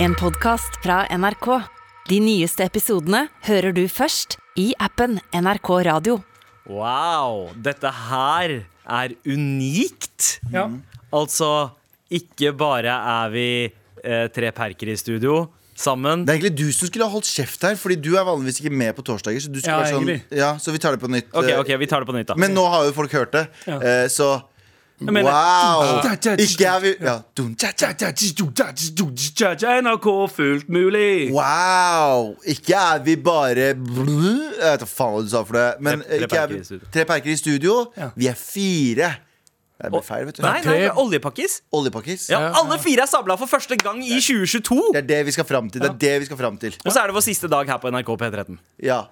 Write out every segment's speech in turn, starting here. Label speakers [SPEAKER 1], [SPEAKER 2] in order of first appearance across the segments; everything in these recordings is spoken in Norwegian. [SPEAKER 1] En podcast fra NRK. De nyeste episodene hører du først i appen NRK Radio.
[SPEAKER 2] Wow, dette her er unikt. Altså, ikke bare er vi eh, tre perker i studio sammen.
[SPEAKER 3] Det er egentlig du som skulle ha holdt kjeft her, Fordi du er vanligvis ikke med på torsdager. Så, du skulle
[SPEAKER 4] Ja,
[SPEAKER 3] vært sånn,
[SPEAKER 4] egentlig.
[SPEAKER 3] ja, så vi tar det på nytt.
[SPEAKER 2] Ok,
[SPEAKER 3] eh,
[SPEAKER 2] ok, vi tar det på nytt, da.
[SPEAKER 3] Men nå har jo folk hørt det,
[SPEAKER 4] Ja.
[SPEAKER 3] eh, så
[SPEAKER 4] mener-
[SPEAKER 3] Wow!
[SPEAKER 4] Ja.
[SPEAKER 3] Ikke er vi ja. dun, tja, tja.
[SPEAKER 4] NRK fullt mulig.
[SPEAKER 3] Wow! Ikke er vi bare blu, Jeg vet da faen hva du sa for det. Men
[SPEAKER 2] Tre- tre
[SPEAKER 3] ikke er
[SPEAKER 2] perker
[SPEAKER 3] vi,
[SPEAKER 2] i studio.
[SPEAKER 3] tre perker i studio.
[SPEAKER 4] Ja.
[SPEAKER 3] Vi er fire. Det ble
[SPEAKER 2] Og-
[SPEAKER 3] feil, vet du.
[SPEAKER 2] Nei, nei,
[SPEAKER 4] tre-
[SPEAKER 2] det er oljepakkis.
[SPEAKER 3] Oljepakkis.
[SPEAKER 2] Ja, alle fire er sabla for første gang i 2022.
[SPEAKER 3] Det er det vi skal fram til. Det er det vi skal fram til.
[SPEAKER 2] Og så er det vår siste dag her på NRK P13.
[SPEAKER 3] Ja.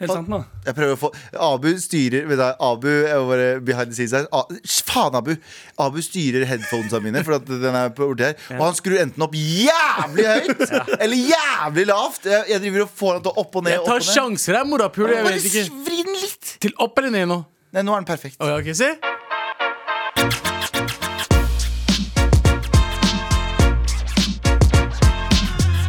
[SPEAKER 4] Helt sant nå.
[SPEAKER 3] Jeg prøver å få Abu styrer vet du, Abu er bare behind the scenes her. A, faen, Abu! Abu styrer headphonesene mine, for at den er på borti her. Og han skrur enten opp jævlig høyt eller jævlig lavt. Jeg, jeg driver og får han til å opp og ned.
[SPEAKER 5] Jeg tar
[SPEAKER 3] opp og ned.
[SPEAKER 5] sjanser her, morapuler. Jeg
[SPEAKER 3] Bare
[SPEAKER 5] vet ikke.
[SPEAKER 3] vri den litt!
[SPEAKER 5] Til opp eller ned nå?
[SPEAKER 3] Nei, nå er den perfekt.
[SPEAKER 5] Å, ja, ok, se.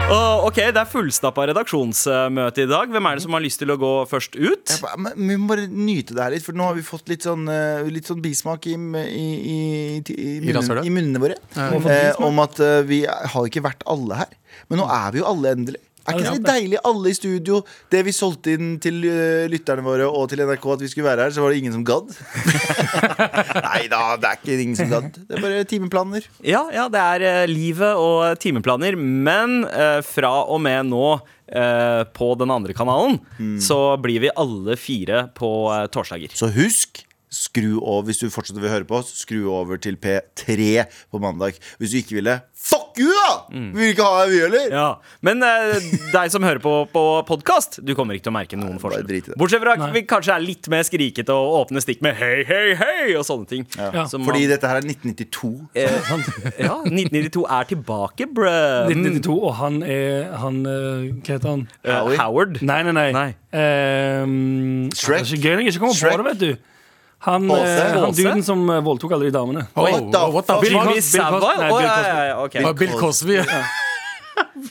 [SPEAKER 2] Åh, ok, Det er fullstappa redaksjonsmøte i dag. Hvem er det som har lyst til å gå først ut?
[SPEAKER 3] Jeg ba- Men vi må bare nyte det her litt, for nå har vi fått litt sånn, eh, litt sånn bismak i, i, i, i,
[SPEAKER 5] I
[SPEAKER 3] munnen,
[SPEAKER 5] rasshølet?
[SPEAKER 3] i munnene våre. Eh, om at eh, vi har ikke vært alle her. Men nå er vi jo alle endelig. Er ikke det litt deilig? Alle i studio. Det vi solgte inn til eh, lytterne våre og til NRK at vi skulle være her, så var det ingen som gadd. Nei da, det er ikke ingen som gadd. Det er bare timeplaner.
[SPEAKER 2] Ja, ja, det er eh, livet og timeplaner. Men eh, fra og med nå eh, på den andre kanalen,
[SPEAKER 3] Hmm.
[SPEAKER 2] så blir vi alle fire på eh, torsdager.
[SPEAKER 3] Så husk Skru over, Hvis du fortsetter å høre på oss, skru over til P3 på mandag. Hvis du ikke ville, fuck you, da! Vi vil ikke ha deg, vi heller!
[SPEAKER 2] Ja, Men eh, deg som hører på på podkast, du kommer ikke til å merke noen
[SPEAKER 3] bare
[SPEAKER 2] forskjell.
[SPEAKER 3] drit i det.
[SPEAKER 2] Bortsett fra at vi kanskje er litt mer skrikete og åpne stikk med hei, hei, hei og sånne ting.
[SPEAKER 4] Ja.
[SPEAKER 2] Som man-
[SPEAKER 3] Fordi
[SPEAKER 2] Eh,
[SPEAKER 3] dette her er 1992.
[SPEAKER 2] ja, 1992 er tilbake, bruh.
[SPEAKER 4] 1992, og han er han, eh, Hva heter han?
[SPEAKER 2] Eh,
[SPEAKER 3] Howie.
[SPEAKER 2] Howard.
[SPEAKER 4] Nei, nei, nei.
[SPEAKER 2] Nei.
[SPEAKER 4] Ehm,
[SPEAKER 3] Shrek.
[SPEAKER 4] Det er ikke gøy når jeg ikke kommer på
[SPEAKER 3] Shrek.
[SPEAKER 4] det, vet du. Han,
[SPEAKER 3] Åse.
[SPEAKER 4] eh, han
[SPEAKER 2] Åse?
[SPEAKER 4] duden som eh, voldtok alle de damene.
[SPEAKER 5] Oh,
[SPEAKER 3] What the
[SPEAKER 5] what the
[SPEAKER 3] fuck?
[SPEAKER 5] fuck?
[SPEAKER 4] Bill
[SPEAKER 2] Jimmy
[SPEAKER 4] Cosby,
[SPEAKER 2] Savile?
[SPEAKER 4] Bill Cosby. Nei,
[SPEAKER 2] Å,
[SPEAKER 4] Bill
[SPEAKER 2] ja, ja, ja, ok.
[SPEAKER 5] Ah, Bill Cosby. ja.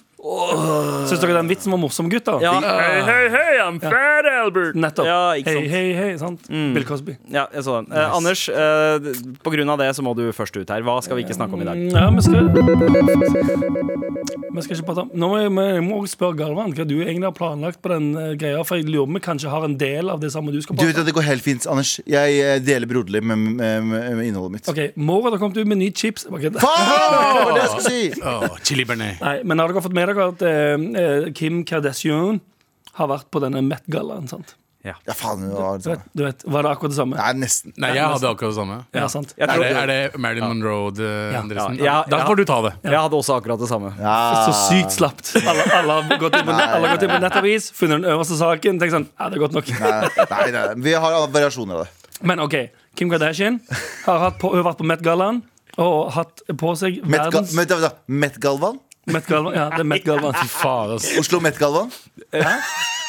[SPEAKER 4] Syns dere den vitsen var morsom, gutter?
[SPEAKER 2] Ja. eh, Hei, hei, hei, I'm fat Albert.
[SPEAKER 4] Nettopp.
[SPEAKER 2] Ja, ikke
[SPEAKER 4] hei,
[SPEAKER 2] sant. Mm.
[SPEAKER 4] hei, hei. Sant? Bill Cosby.
[SPEAKER 2] Ja, jeg så den. Eh, Anders, eh, på grunn av det så må du først ut her. Hva skal vi ikke snakke om i dag?
[SPEAKER 4] Ja, vi skal Vi skal ikke prate om Nå må jeg, men jeg må også spørre Galvan hva du egentlig har planlagt på den eh, greia, for jeg lurer på om vi kanskje har en del av det samme du skal
[SPEAKER 3] Du vet
[SPEAKER 4] prate om.
[SPEAKER 3] at det går helt fint, Anders. Jeg eh, deler broderlig med, med, med, med innholdet mitt.
[SPEAKER 4] OK, Morgan har kommet ut med nye chips. Bare kødda.
[SPEAKER 3] Faen! Det var det jeg skulle si!
[SPEAKER 5] Å, chili bearnés.
[SPEAKER 4] Nei, men har dere fått med dere at eh, eh, Kim Kardashian har vært på denne Met-gallaen, sant?
[SPEAKER 3] Ja, faen. Det
[SPEAKER 4] Du
[SPEAKER 3] var det
[SPEAKER 4] vet,
[SPEAKER 3] samme.
[SPEAKER 4] du vet, var det akkurat det samme?
[SPEAKER 3] Nei, nesten.
[SPEAKER 5] Nei, jeg hadde akkurat det samme.
[SPEAKER 4] Ja, sant?
[SPEAKER 2] Jeg,
[SPEAKER 5] Er
[SPEAKER 2] tror,
[SPEAKER 5] det, er det Marilyn Monroe, det, Andresen?
[SPEAKER 2] Ja, ja,
[SPEAKER 5] Da
[SPEAKER 2] ja.
[SPEAKER 5] får du ta det.
[SPEAKER 2] jeg hadde også akkurat det samme.
[SPEAKER 3] Ja.
[SPEAKER 4] Så sykt slapt. Alle, alle har gått inn på, nett, alle har gått inn på nettavis, funnet den øverste saken, tenkt sånn Ja, det er godt nok.
[SPEAKER 3] Nei, nei, nei. Vi har variasjoner av det.
[SPEAKER 4] Men OK. Kim Kardashian har hatt på, hun har vært på Met-gallaen og hatt på seg
[SPEAKER 3] Met, ga,
[SPEAKER 4] verdens
[SPEAKER 3] Met, da, Met Galvan?
[SPEAKER 4] Met-galvan. Ja, det er Met-galvan.
[SPEAKER 5] Faen, ass.
[SPEAKER 3] Oslo Met Galvan?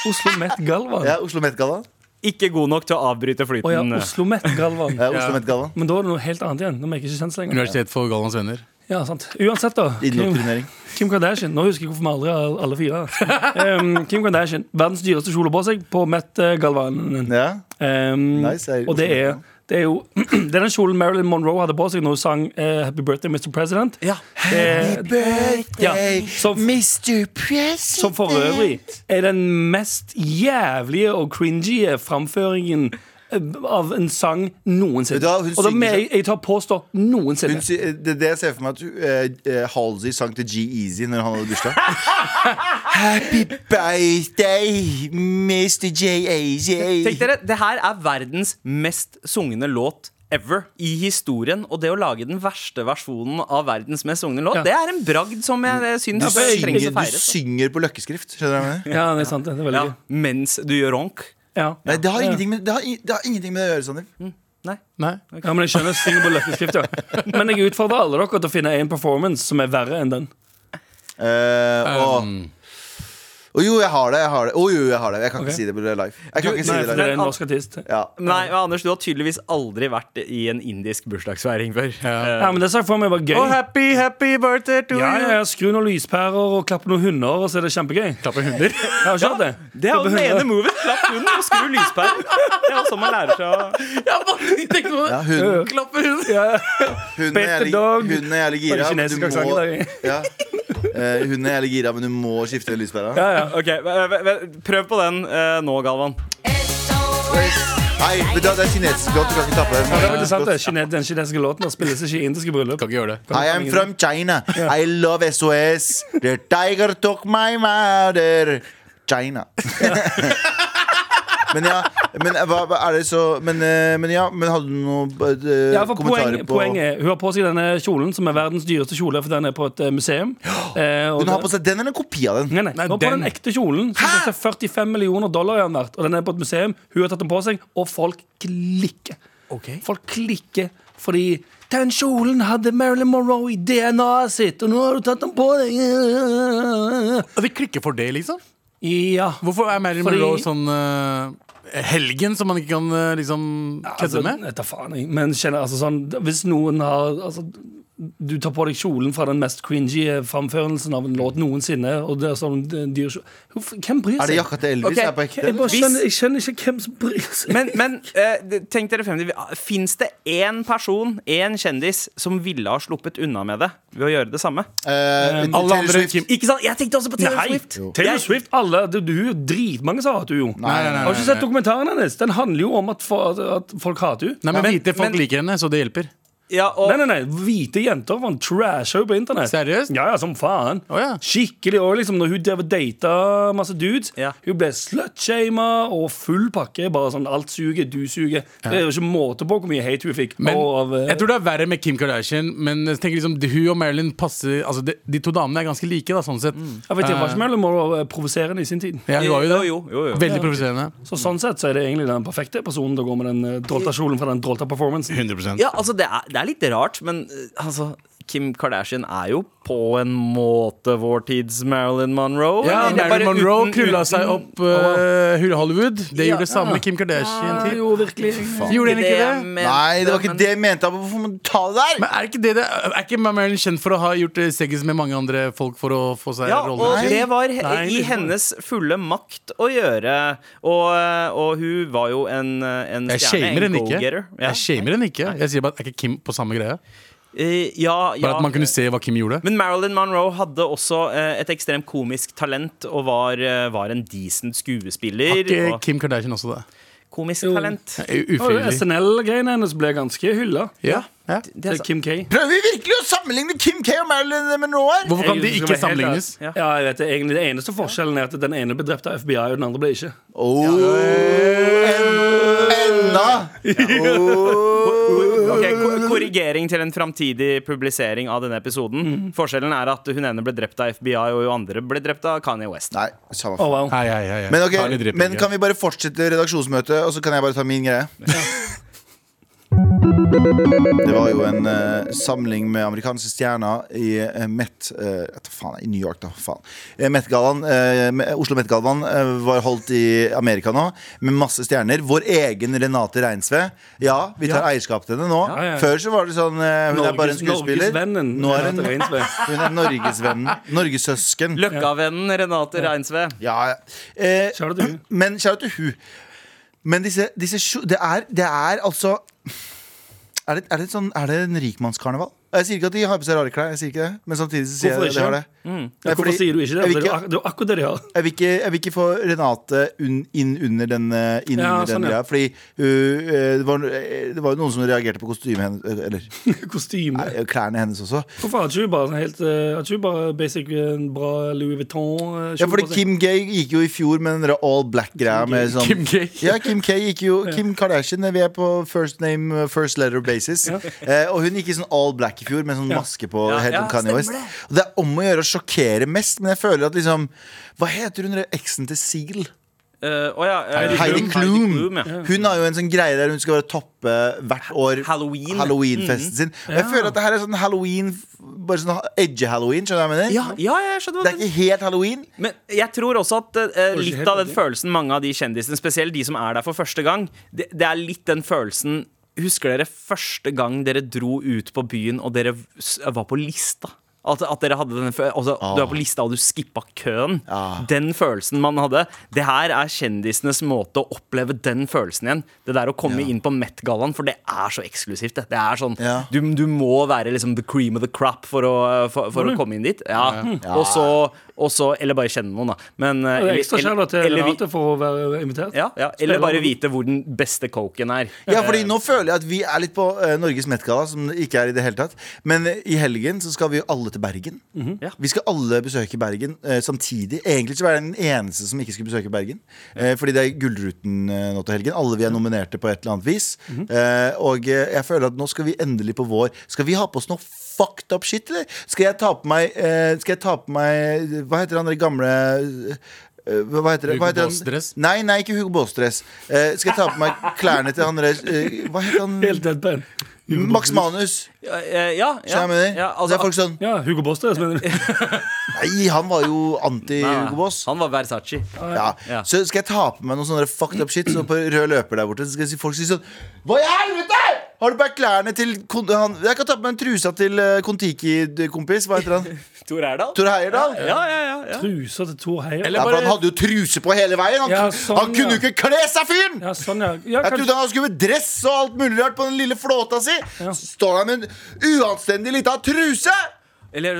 [SPEAKER 4] Oslo Met-galvan. Å ja.
[SPEAKER 3] Ja, Oslo Met Galvan.
[SPEAKER 2] Ikke god nok til å avbryte flyten.
[SPEAKER 4] Oslo Met-galvan.
[SPEAKER 3] Ja, Oslo Met Galvan.
[SPEAKER 4] Men da er det noe helt annet igjen. Nå er vi ikke kjent lenger.
[SPEAKER 5] Universitet for Gallans venner.
[SPEAKER 4] Ja, sant. Uansett, da. Kim,
[SPEAKER 3] Indoktrinering.
[SPEAKER 4] Kim Kardashian. Nå husker jeg hvorfor vi aldri har alle fire. Em, Kim Kardashian. Verdens dyreste kjole på seg på Met-galvanen.
[SPEAKER 3] Ja.
[SPEAKER 4] Em,
[SPEAKER 3] Nice, jeg-
[SPEAKER 4] og det er, det er jo Det er den kjolen Marilyn Monroe hadde på seg når hun sang eh, 'Happy Birthday, Mr. President'.
[SPEAKER 2] Ja.
[SPEAKER 4] Eh, ja, som,
[SPEAKER 3] Mr. President.
[SPEAKER 4] som for øvrig er den mest jævlige og cringy framføringen eh, av en sang noensinne.
[SPEAKER 3] Vet du hva, hun
[SPEAKER 4] og da
[SPEAKER 3] synger
[SPEAKER 4] med, jeg,
[SPEAKER 3] så-
[SPEAKER 4] jeg tar påstå noensinne.
[SPEAKER 3] Hun, sy- det, det jeg ser for meg at eh, eh, Halsey sang til G-Eazy når han hadde bursdag. Happy birthday, Mr.
[SPEAKER 2] Tenk
[SPEAKER 3] J-AZ.
[SPEAKER 2] dere, det her er verdens mest sungne låt ever i historien. Og det å lage den verste versjonen av verdens mest sungne låt,
[SPEAKER 4] Ja.
[SPEAKER 2] det er en bragd som jeg eh,
[SPEAKER 3] Du,
[SPEAKER 2] syns
[SPEAKER 4] altså,
[SPEAKER 2] trengs
[SPEAKER 3] synger-
[SPEAKER 2] å
[SPEAKER 3] du
[SPEAKER 2] feires. da.
[SPEAKER 3] synger på løkkeskrift. Skjønner du hva jeg mener?
[SPEAKER 4] Ja, det er sant. Det er veldig
[SPEAKER 2] Ja,
[SPEAKER 4] gøy.
[SPEAKER 2] mens du gjør ronk.
[SPEAKER 4] Ja.
[SPEAKER 3] Nei, det har, ingenting med, det, har, i- det har ingenting med det å gjøre, Sander.
[SPEAKER 2] Nei.
[SPEAKER 5] Nei.
[SPEAKER 4] Ja, men jeg skjønner synger på løkkeskrift, ja. Men jeg utfordrer alle dere
[SPEAKER 5] Mm,
[SPEAKER 4] til å finne en performance som er verre enn den.
[SPEAKER 3] Eh, og, og Å jo, jeg har det. Jeg har det. Å jo, jeg har det. Jeg kan
[SPEAKER 4] Ok.
[SPEAKER 3] ikke si det på live. Jeg kan ikke si
[SPEAKER 4] Nei,
[SPEAKER 3] det
[SPEAKER 4] for det
[SPEAKER 3] live.
[SPEAKER 4] er en norsk artist.
[SPEAKER 3] Ja.
[SPEAKER 2] Nei, men Anders, du har tydeligvis aldri vært i en indisk bursdagsfeiring før.
[SPEAKER 5] Ja.
[SPEAKER 4] Ja, men det sa jeg for meg var gøy.
[SPEAKER 2] Oh, happy, happy birthday to
[SPEAKER 4] Ja, ja,
[SPEAKER 2] you!
[SPEAKER 4] ja, Skru noen lyspærer og klapp noen hunder, og så er det kjempegøy.
[SPEAKER 5] Klappe hunder.
[SPEAKER 4] Jeg har ikke hatt det.
[SPEAKER 2] Det er jo
[SPEAKER 4] Klappe
[SPEAKER 2] den ene
[SPEAKER 4] hunder.
[SPEAKER 2] moven. Klapp hunden og skru lyspæren. Det er jo sånn man lærer seg å
[SPEAKER 3] Ja, hunden,
[SPEAKER 5] Klappe hunder.
[SPEAKER 4] Ja, ja.
[SPEAKER 3] hunden er jævlig
[SPEAKER 4] Dog.
[SPEAKER 3] hunden er jævlig gira.
[SPEAKER 4] Bare
[SPEAKER 3] men
[SPEAKER 4] kinesisk
[SPEAKER 3] Du
[SPEAKER 4] aksent
[SPEAKER 3] må,
[SPEAKER 4] i dag.
[SPEAKER 3] ja. Eh, hunden er jævlig gira, men du må skifte lyspæra.
[SPEAKER 4] Ja, ja.
[SPEAKER 2] Ok, v- v- v- Prøv på den eh, nå, Galvan.
[SPEAKER 3] Nei, vet du hva, det er kinesisk låt. Du kan ikke tappe
[SPEAKER 4] Det er veldig sant, det.
[SPEAKER 3] den.
[SPEAKER 4] Kine, den kinesiske låten der spilles ikke i indiske bryllup.
[SPEAKER 5] Kan ikke gjøre det.
[SPEAKER 3] I am from China. I love SOS. The tiger took my mother. China. men ja, men hva, hva er det så Men, eh, men ja, men hadde du noen eh,
[SPEAKER 4] Ja, for
[SPEAKER 3] kommentarer
[SPEAKER 4] poeng,
[SPEAKER 3] på
[SPEAKER 4] poenget er, Hun har på seg denne kjolen, som er verdens dyreste kjole, for den er på et eh, museum. Eh, og
[SPEAKER 3] Hun har
[SPEAKER 4] det-
[SPEAKER 3] på seg den eller en kopi av den?
[SPEAKER 4] Nei, nei, nå på den ekte kjolen som koster 45 millioner dollar i den verdt, og den er på et museum. Hun har tatt den på seg, og folk klikker. Folk klikker fordi den kjolen hadde Marilyn Monroe i DNA-et sitt, og nå har du tatt den på deg.
[SPEAKER 5] Og de klikker for det, liksom?
[SPEAKER 4] Ja.
[SPEAKER 5] Hvorfor er Marilyn
[SPEAKER 4] Fordi-
[SPEAKER 5] Monroe sånn eh, helgen som man ikke kan eh, liksom kødde
[SPEAKER 4] Altså,
[SPEAKER 5] med?
[SPEAKER 4] jeg tar faen, jeg. Men kjenner, altså, sånn, hvis noen har altså, Du tar på deg kjolen fra den mest cringy framførelsen av en låt noensinne. Og det er sånn det er en dyr kjole. Hvorfor- Hvem bryr seg?
[SPEAKER 3] Er det jakka til Elvis?
[SPEAKER 2] Ok,
[SPEAKER 3] Er på ekte?
[SPEAKER 4] Jeg, bare
[SPEAKER 2] Hvis-
[SPEAKER 4] skjønner, jeg skjønner ikke hvem som bryr seg.
[SPEAKER 2] Men, men eh, det- tenk dere frem til Fins det én person, én kjendis, som ville ha sluppet unna med det ved å gjøre det samme?
[SPEAKER 3] Eh,
[SPEAKER 5] Alle
[SPEAKER 3] Taylor
[SPEAKER 5] andre
[SPEAKER 3] Swift.
[SPEAKER 5] Kim
[SPEAKER 2] Ikke sant? Jeg tenkte også på Taylor
[SPEAKER 4] Nei,
[SPEAKER 2] Swift.
[SPEAKER 4] Taylor
[SPEAKER 2] Jeg-
[SPEAKER 4] Swift alle, du, du, er jo Dritmange som hater henne, jo.
[SPEAKER 5] Nei, nei, nei,
[SPEAKER 4] Har du ikke sett
[SPEAKER 5] nei, nei.
[SPEAKER 4] dokumentaren hennes? Den handler jo om at, for, at, at folk hater henne.
[SPEAKER 5] Nei, men
[SPEAKER 2] Men-
[SPEAKER 5] hvite folk
[SPEAKER 2] men-
[SPEAKER 5] liker henne, så det hjelper.
[SPEAKER 2] Ja, og,
[SPEAKER 4] Nei, nei, nei, Hvite jenter for en trasher på internett.
[SPEAKER 5] Seriøst?
[SPEAKER 4] Ja, ja, som faen.
[SPEAKER 5] Å, ja.
[SPEAKER 4] Skikkelig òg, liksom. Når hun drev og data masse dudes.
[SPEAKER 2] Ja.
[SPEAKER 4] Hun ble slutshama og full pakke. Bare sånn alt suger, du suger. Det er jo ikke måte på hvor mye hate hun fikk.
[SPEAKER 5] Men
[SPEAKER 4] og av, eh,
[SPEAKER 5] jeg tror det er verre med Kim Kardashian, men jeg tenker liksom hun og Marilyn passer Altså de, de to damene er ganske like, da, sånn sett.
[SPEAKER 4] jeg vet ikke, Var
[SPEAKER 5] Eh,
[SPEAKER 4] ikke Marilyn Monroe eh, provoserende i sin tid?
[SPEAKER 5] ja, hun var jo det.
[SPEAKER 2] Jo, jo, jo, jo.
[SPEAKER 5] Veldig provoserende.
[SPEAKER 4] Så Sånn sett så er det egentlig den perfekte personen til å gå med den eh, drolta kjolen fra den drolta performancen.
[SPEAKER 5] 100
[SPEAKER 2] Ja, altså det er, det er litt rart, men eh, altså Kim Kardashian er jo på en måte vår tids Marilyn Monroe.
[SPEAKER 5] Ja,
[SPEAKER 2] eller?
[SPEAKER 5] Marilyn
[SPEAKER 2] Bare
[SPEAKER 5] Monroe
[SPEAKER 2] uten-
[SPEAKER 5] krulla
[SPEAKER 2] uten-
[SPEAKER 5] seg opp uh, Hollywood. Det
[SPEAKER 2] Ja.
[SPEAKER 5] gjorde det samme Kim Kardashian til.
[SPEAKER 4] jo, virkelig.
[SPEAKER 5] Gjorde hun ikke
[SPEAKER 2] jeg
[SPEAKER 5] det?
[SPEAKER 2] mente,
[SPEAKER 3] Nei, det var ikke
[SPEAKER 2] men-
[SPEAKER 3] det jeg mente. Abba. Hvorfor må du ta det der?
[SPEAKER 5] Men er ikke, det det, er ikke Marilyn kjent for å ha gjort eh, seggis med mange andre folk for å få seg
[SPEAKER 2] Ja,
[SPEAKER 5] roller?
[SPEAKER 2] og
[SPEAKER 3] Nei.
[SPEAKER 2] det var he-
[SPEAKER 4] Nei,
[SPEAKER 2] i
[SPEAKER 4] det-
[SPEAKER 2] hennes fulle makt å gjøre. Og, eh, og hun var jo en, eh, en
[SPEAKER 5] Jeg
[SPEAKER 2] stjerne.
[SPEAKER 5] shamer
[SPEAKER 2] En
[SPEAKER 5] henne ikke.
[SPEAKER 2] go-getter. Ja.
[SPEAKER 5] Jeg shamer henne ikke Jeg sier bare at er ikke Kim på samme greie?
[SPEAKER 2] Eh, ja,
[SPEAKER 5] Bare
[SPEAKER 2] ja.
[SPEAKER 5] at man kunne se hva Kim gjorde.
[SPEAKER 2] Men Marilyn Monroe hadde også eh, et ekstremt komisk talent og var, eh, var en decent
[SPEAKER 5] Har
[SPEAKER 2] skuespiller.
[SPEAKER 5] ikke
[SPEAKER 2] Og
[SPEAKER 5] eh, Kim Kardashian også det?
[SPEAKER 2] komisk
[SPEAKER 4] Jo.
[SPEAKER 2] talent.
[SPEAKER 5] Det er jo
[SPEAKER 4] Og
[SPEAKER 5] Ufrivillig.
[SPEAKER 4] SNL-greiene hennes ble ganske hylla.
[SPEAKER 5] Ja. Ja.
[SPEAKER 2] Det er sant.
[SPEAKER 4] Kim K.
[SPEAKER 3] Prøver vi virkelig å sammenligne Kim K og Marilyn Monroe her?
[SPEAKER 5] Hvorfor kan de ikke sammenlignes?
[SPEAKER 4] Ja. ja, jeg vet det, egentlig Det eneste forskjellen er at den ene ble drept av FBI, og den andre ble ikke.
[SPEAKER 3] Oh, en, enda!
[SPEAKER 2] Ok, ko- Korrigering til en framtidig publisering av denne episoden. Forskjellen er at hun ene ble drept av FBI, og hun andre ble drept av Kanye West.
[SPEAKER 3] Nei, samme
[SPEAKER 4] Oh,
[SPEAKER 3] faen.
[SPEAKER 4] wow.
[SPEAKER 5] Hei, hei, hei, hei.
[SPEAKER 3] Men, ok,
[SPEAKER 5] Farlig dreping,
[SPEAKER 3] men
[SPEAKER 5] ja.
[SPEAKER 3] kan vi bare fortsette redaksjonsmøtet, og så kan jeg bare ta min greie? Det var jo en eh, samling med amerikanske stjerner i eh, Met eh, vet du faen, I New York, da. Faen. Eh, Met-gallaen, eh, Me- Oslo Met-gallaen eh, var holdt i Amerika nå, med masse stjerner. Vår egen Renate Reinsve. Ja, vi tar eierskap til henne nå.
[SPEAKER 4] Ja, ja, ja.
[SPEAKER 3] Før så var det sånn eh, Hun er bare en
[SPEAKER 4] Norges-
[SPEAKER 3] skuespiller.
[SPEAKER 4] Norgesvennen
[SPEAKER 3] Nå er
[SPEAKER 4] Renate
[SPEAKER 3] hun,
[SPEAKER 4] Reinsve.
[SPEAKER 3] hun er Norgesvennen. Norgessøsken.
[SPEAKER 2] Løkkavennen Renate Reinsve.
[SPEAKER 3] Ja, ja. Eh,
[SPEAKER 4] Shout out til hun.
[SPEAKER 3] Men shout out til hun. Men disse, disse sjo- det, er, det er altså er det, er, det et sånn, er det en rikmannskarneval? Jeg sier ikke at de har på seg rare klær, jeg sier ikke det. men samtidig så sier
[SPEAKER 4] Hvorfor
[SPEAKER 3] jeg det.
[SPEAKER 4] ikke? Mm.
[SPEAKER 3] det, har det. Nei,
[SPEAKER 4] Hvorfor
[SPEAKER 3] fordi
[SPEAKER 4] sier du ikke det?
[SPEAKER 3] Jeg
[SPEAKER 4] For
[SPEAKER 3] vil
[SPEAKER 4] det er jo
[SPEAKER 3] ikke,
[SPEAKER 4] ak- det er jo akkurat det de har.
[SPEAKER 3] jeg vil ikke, jeg vil ikke få Renate un, inn under den eh, inn
[SPEAKER 4] Ja,
[SPEAKER 3] under den
[SPEAKER 4] sånn, ja.
[SPEAKER 3] greia. Fordi uh, eh, det var eh, det var jo noen som reagerte på kostymet hennes, eller
[SPEAKER 4] Kostyme.
[SPEAKER 3] nei, klæerne hennes også.
[SPEAKER 4] Hvorfor har ikke hun bare en helt eh, Har ikke hun bare basic eh, en bra Louis eh, Vuitton-kjole?
[SPEAKER 3] Ja, fordi Kim K gikk jo i fjor med den der all black-greia med sånn
[SPEAKER 5] Kim K.
[SPEAKER 3] Ja, Kim K gikk jo Kim Kardashian, vi er på first name, uh, first letter basis. Eh, og hun gikk i sånn all black i fjor med sånn maske på
[SPEAKER 2] Ja,
[SPEAKER 3] head
[SPEAKER 2] ja,
[SPEAKER 3] on Kanye
[SPEAKER 2] stemmer
[SPEAKER 3] West. Og det er om å gjøre å sjokkere mest, men jeg føler at liksom Hva heter hun der eksen til Seal?
[SPEAKER 2] Eh, å ja, eh,
[SPEAKER 3] Heidi Klum.
[SPEAKER 2] ja.
[SPEAKER 3] Hun har jo en sånn greie der hun skal bare toppe hvert år
[SPEAKER 2] Halloween. Mm.
[SPEAKER 3] Halloween-festen sin. Og jeg
[SPEAKER 4] Ja.
[SPEAKER 3] føler at det her er sånn halloween Bare sånn edge-halloween. Skjønner du hva jeg mener?
[SPEAKER 2] Ja, ja, jeg skjønner
[SPEAKER 3] Det
[SPEAKER 2] hva
[SPEAKER 3] er
[SPEAKER 2] du
[SPEAKER 3] ikke helt halloween.
[SPEAKER 2] Men jeg tror også at eh,
[SPEAKER 4] Kanskje
[SPEAKER 2] litt
[SPEAKER 4] helt
[SPEAKER 2] av den
[SPEAKER 4] enig.
[SPEAKER 2] følelsen mange av de kjendisene, spesielt de som er der for første gang, det, det er litt den følelsen Husker dere første gang dere dro ut på byen og dere s- var på lista? At, at dere hadde denne fø- altså, Du er på lista, og du skippa køen.
[SPEAKER 3] Ah.
[SPEAKER 2] Den følelsen man hadde. Det her er kjendisenes måte å oppleve den følelsen igjen. Det der å komme inn på Met-gallaen, for det er så eksklusivt. Det, det er sånn,
[SPEAKER 3] Ja.
[SPEAKER 2] du, du må være liksom the cream of the crop for å, for, for å komme inn dit. Ja.
[SPEAKER 3] Mm.
[SPEAKER 2] Og så og så, eller bare kjenne noen, da. Men, eh,
[SPEAKER 4] Det er
[SPEAKER 2] eller-
[SPEAKER 4] Ekstra
[SPEAKER 2] eller-
[SPEAKER 4] kjærlighet til
[SPEAKER 2] eller vi-
[SPEAKER 4] Renate for å være invitert.
[SPEAKER 2] ja, ja, eller
[SPEAKER 4] Spiller
[SPEAKER 2] bare
[SPEAKER 4] hun.
[SPEAKER 2] vite hvor den beste coken er.
[SPEAKER 3] Ja, fordi nå føler jeg at vi er litt på eh, Norges Met-galla, som det ikke er i det hele tatt. Men eh, i helgen så skal vi jo alle til Bergen.
[SPEAKER 2] Ja.
[SPEAKER 3] Vi skal alle besøke Bergen eh, samtidig. Egentlig så var jeg den eneste som ikke skulle besøke Bergen. Eh, fordi det er Gullruten eh, nå til helgen. Alle vi er nominerte på et eller annet vis. eh, og eh, jeg føler at nå skal vi endelig på vår Skal vi ha på oss noe fucked up shit, eller? Skal jeg ta på meg eh, Skal jeg ta på meg Hva heter han der gamle eh, hva heter det? Hva
[SPEAKER 5] Hugo
[SPEAKER 3] heter han?
[SPEAKER 5] Boss-dress?
[SPEAKER 3] Nei, nei, ikke Hugo Boss-dress. Eh, skal jeg ta på meg klærne til han der eh, Hva heter han?
[SPEAKER 4] Helt deadpan.
[SPEAKER 3] Max Manus.
[SPEAKER 2] Ja, eh, ja, ja,
[SPEAKER 3] Skjønner du hva jeg mener?
[SPEAKER 2] ja,
[SPEAKER 3] Så er folk
[SPEAKER 2] altså,
[SPEAKER 3] sånn
[SPEAKER 4] Ja, Hugo Boss, det mener du.
[SPEAKER 3] Nei, han var jo
[SPEAKER 2] nei,
[SPEAKER 3] anti-Hugo Boss.
[SPEAKER 2] ah, Han var Versace.
[SPEAKER 3] Ja.
[SPEAKER 2] Ja.
[SPEAKER 3] Så skal jeg ta på meg noen sånne fucked up shit Så på rød løper der borte Så skal jeg si folk si sånn Hva i helvete? Har du bare klærne til kon- han? Jeg kan ta på meg en trusa til eh, Kon-Tiki-kompis Hva heter han?
[SPEAKER 2] Tor Heyerdahl.
[SPEAKER 3] Tor Heyerdahl?
[SPEAKER 2] Ja, ja, ja, ja.
[SPEAKER 4] Trusa til Thor Heier.
[SPEAKER 5] Eller-
[SPEAKER 3] Ja, for han hadde jo truse på hele veien Han,
[SPEAKER 4] Ja, sånn,
[SPEAKER 3] han kunne jo
[SPEAKER 4] ja.
[SPEAKER 3] ikke kle seg fyren
[SPEAKER 4] Ja, sånn, ja. ja
[SPEAKER 3] Jeg
[SPEAKER 4] kanskje,
[SPEAKER 3] trodde han skulle med dress og alt mulig rart På den lille flåta si Står han med en uanstendig liten truse
[SPEAKER 2] Eller,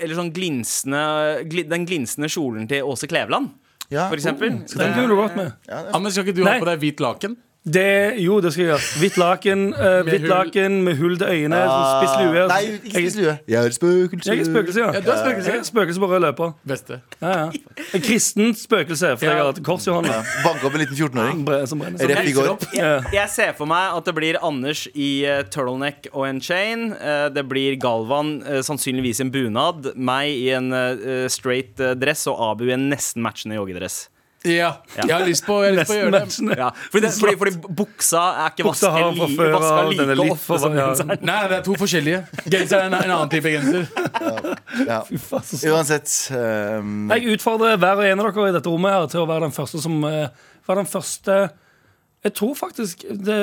[SPEAKER 2] eller sånn glinsende gli- Den glinsende kjolen til Åse Kleveland,
[SPEAKER 3] Ja, Mm.
[SPEAKER 2] for eksempel.
[SPEAKER 4] den kunne du gått med.
[SPEAKER 5] Anders, skal ikke du
[SPEAKER 4] Nei.
[SPEAKER 5] ha på deg hvit laken?
[SPEAKER 4] Det, jo, det skal jeg gjøre. Hvitt laken, eh, hvitt
[SPEAKER 5] hull. Ah,
[SPEAKER 4] laken med hull til øynene, sånn spiss lue.
[SPEAKER 3] Nei, ikke
[SPEAKER 4] Jeg-
[SPEAKER 3] slue Jeg er spøkelse
[SPEAKER 4] Jeg er spøkelse, ja.
[SPEAKER 5] Ja, du er spøkelse.
[SPEAKER 4] Jeg er spøkelse på rød løper.
[SPEAKER 5] Beste.
[SPEAKER 4] Ja, ja. En kristen spøkelse, for jeg har hatt et kors i hånda.
[SPEAKER 3] Bank opp en liten 14-åring
[SPEAKER 4] Bre- Som brenner. sånn.
[SPEAKER 3] Rett i går
[SPEAKER 2] Jeg, jeg ser for meg at det blir Anders i eh, turtleneck og en chain. Eh, det blir Galvan eh, sannsynligvis i en bunad. Meg i en eh, straight eh, dress og Abu i en nesten matchende joggedress.
[SPEAKER 5] Ja. Jeg har lyst på, jeg har lyst på
[SPEAKER 4] Nesten
[SPEAKER 5] å gjøre det.
[SPEAKER 4] matchende.
[SPEAKER 2] Ja, fordi, det, fordi, fordi buksa er ikke vaska
[SPEAKER 4] Buksa har
[SPEAKER 2] li,
[SPEAKER 4] fra før,
[SPEAKER 2] vaska
[SPEAKER 4] og den er
[SPEAKER 2] like
[SPEAKER 4] litt
[SPEAKER 2] ofte som
[SPEAKER 4] for- sånn, ja.
[SPEAKER 2] genseren.
[SPEAKER 5] Nei, nei, det er to forskjellige. Genser er en, en annen type genser.
[SPEAKER 3] ja.
[SPEAKER 4] Fy faen, så sterkt.
[SPEAKER 3] Uansett ehm,
[SPEAKER 4] Jeg utfordrer hver og en av dere i dette rommet her til å være den første som eh, Være den første Jeg tror faktisk det,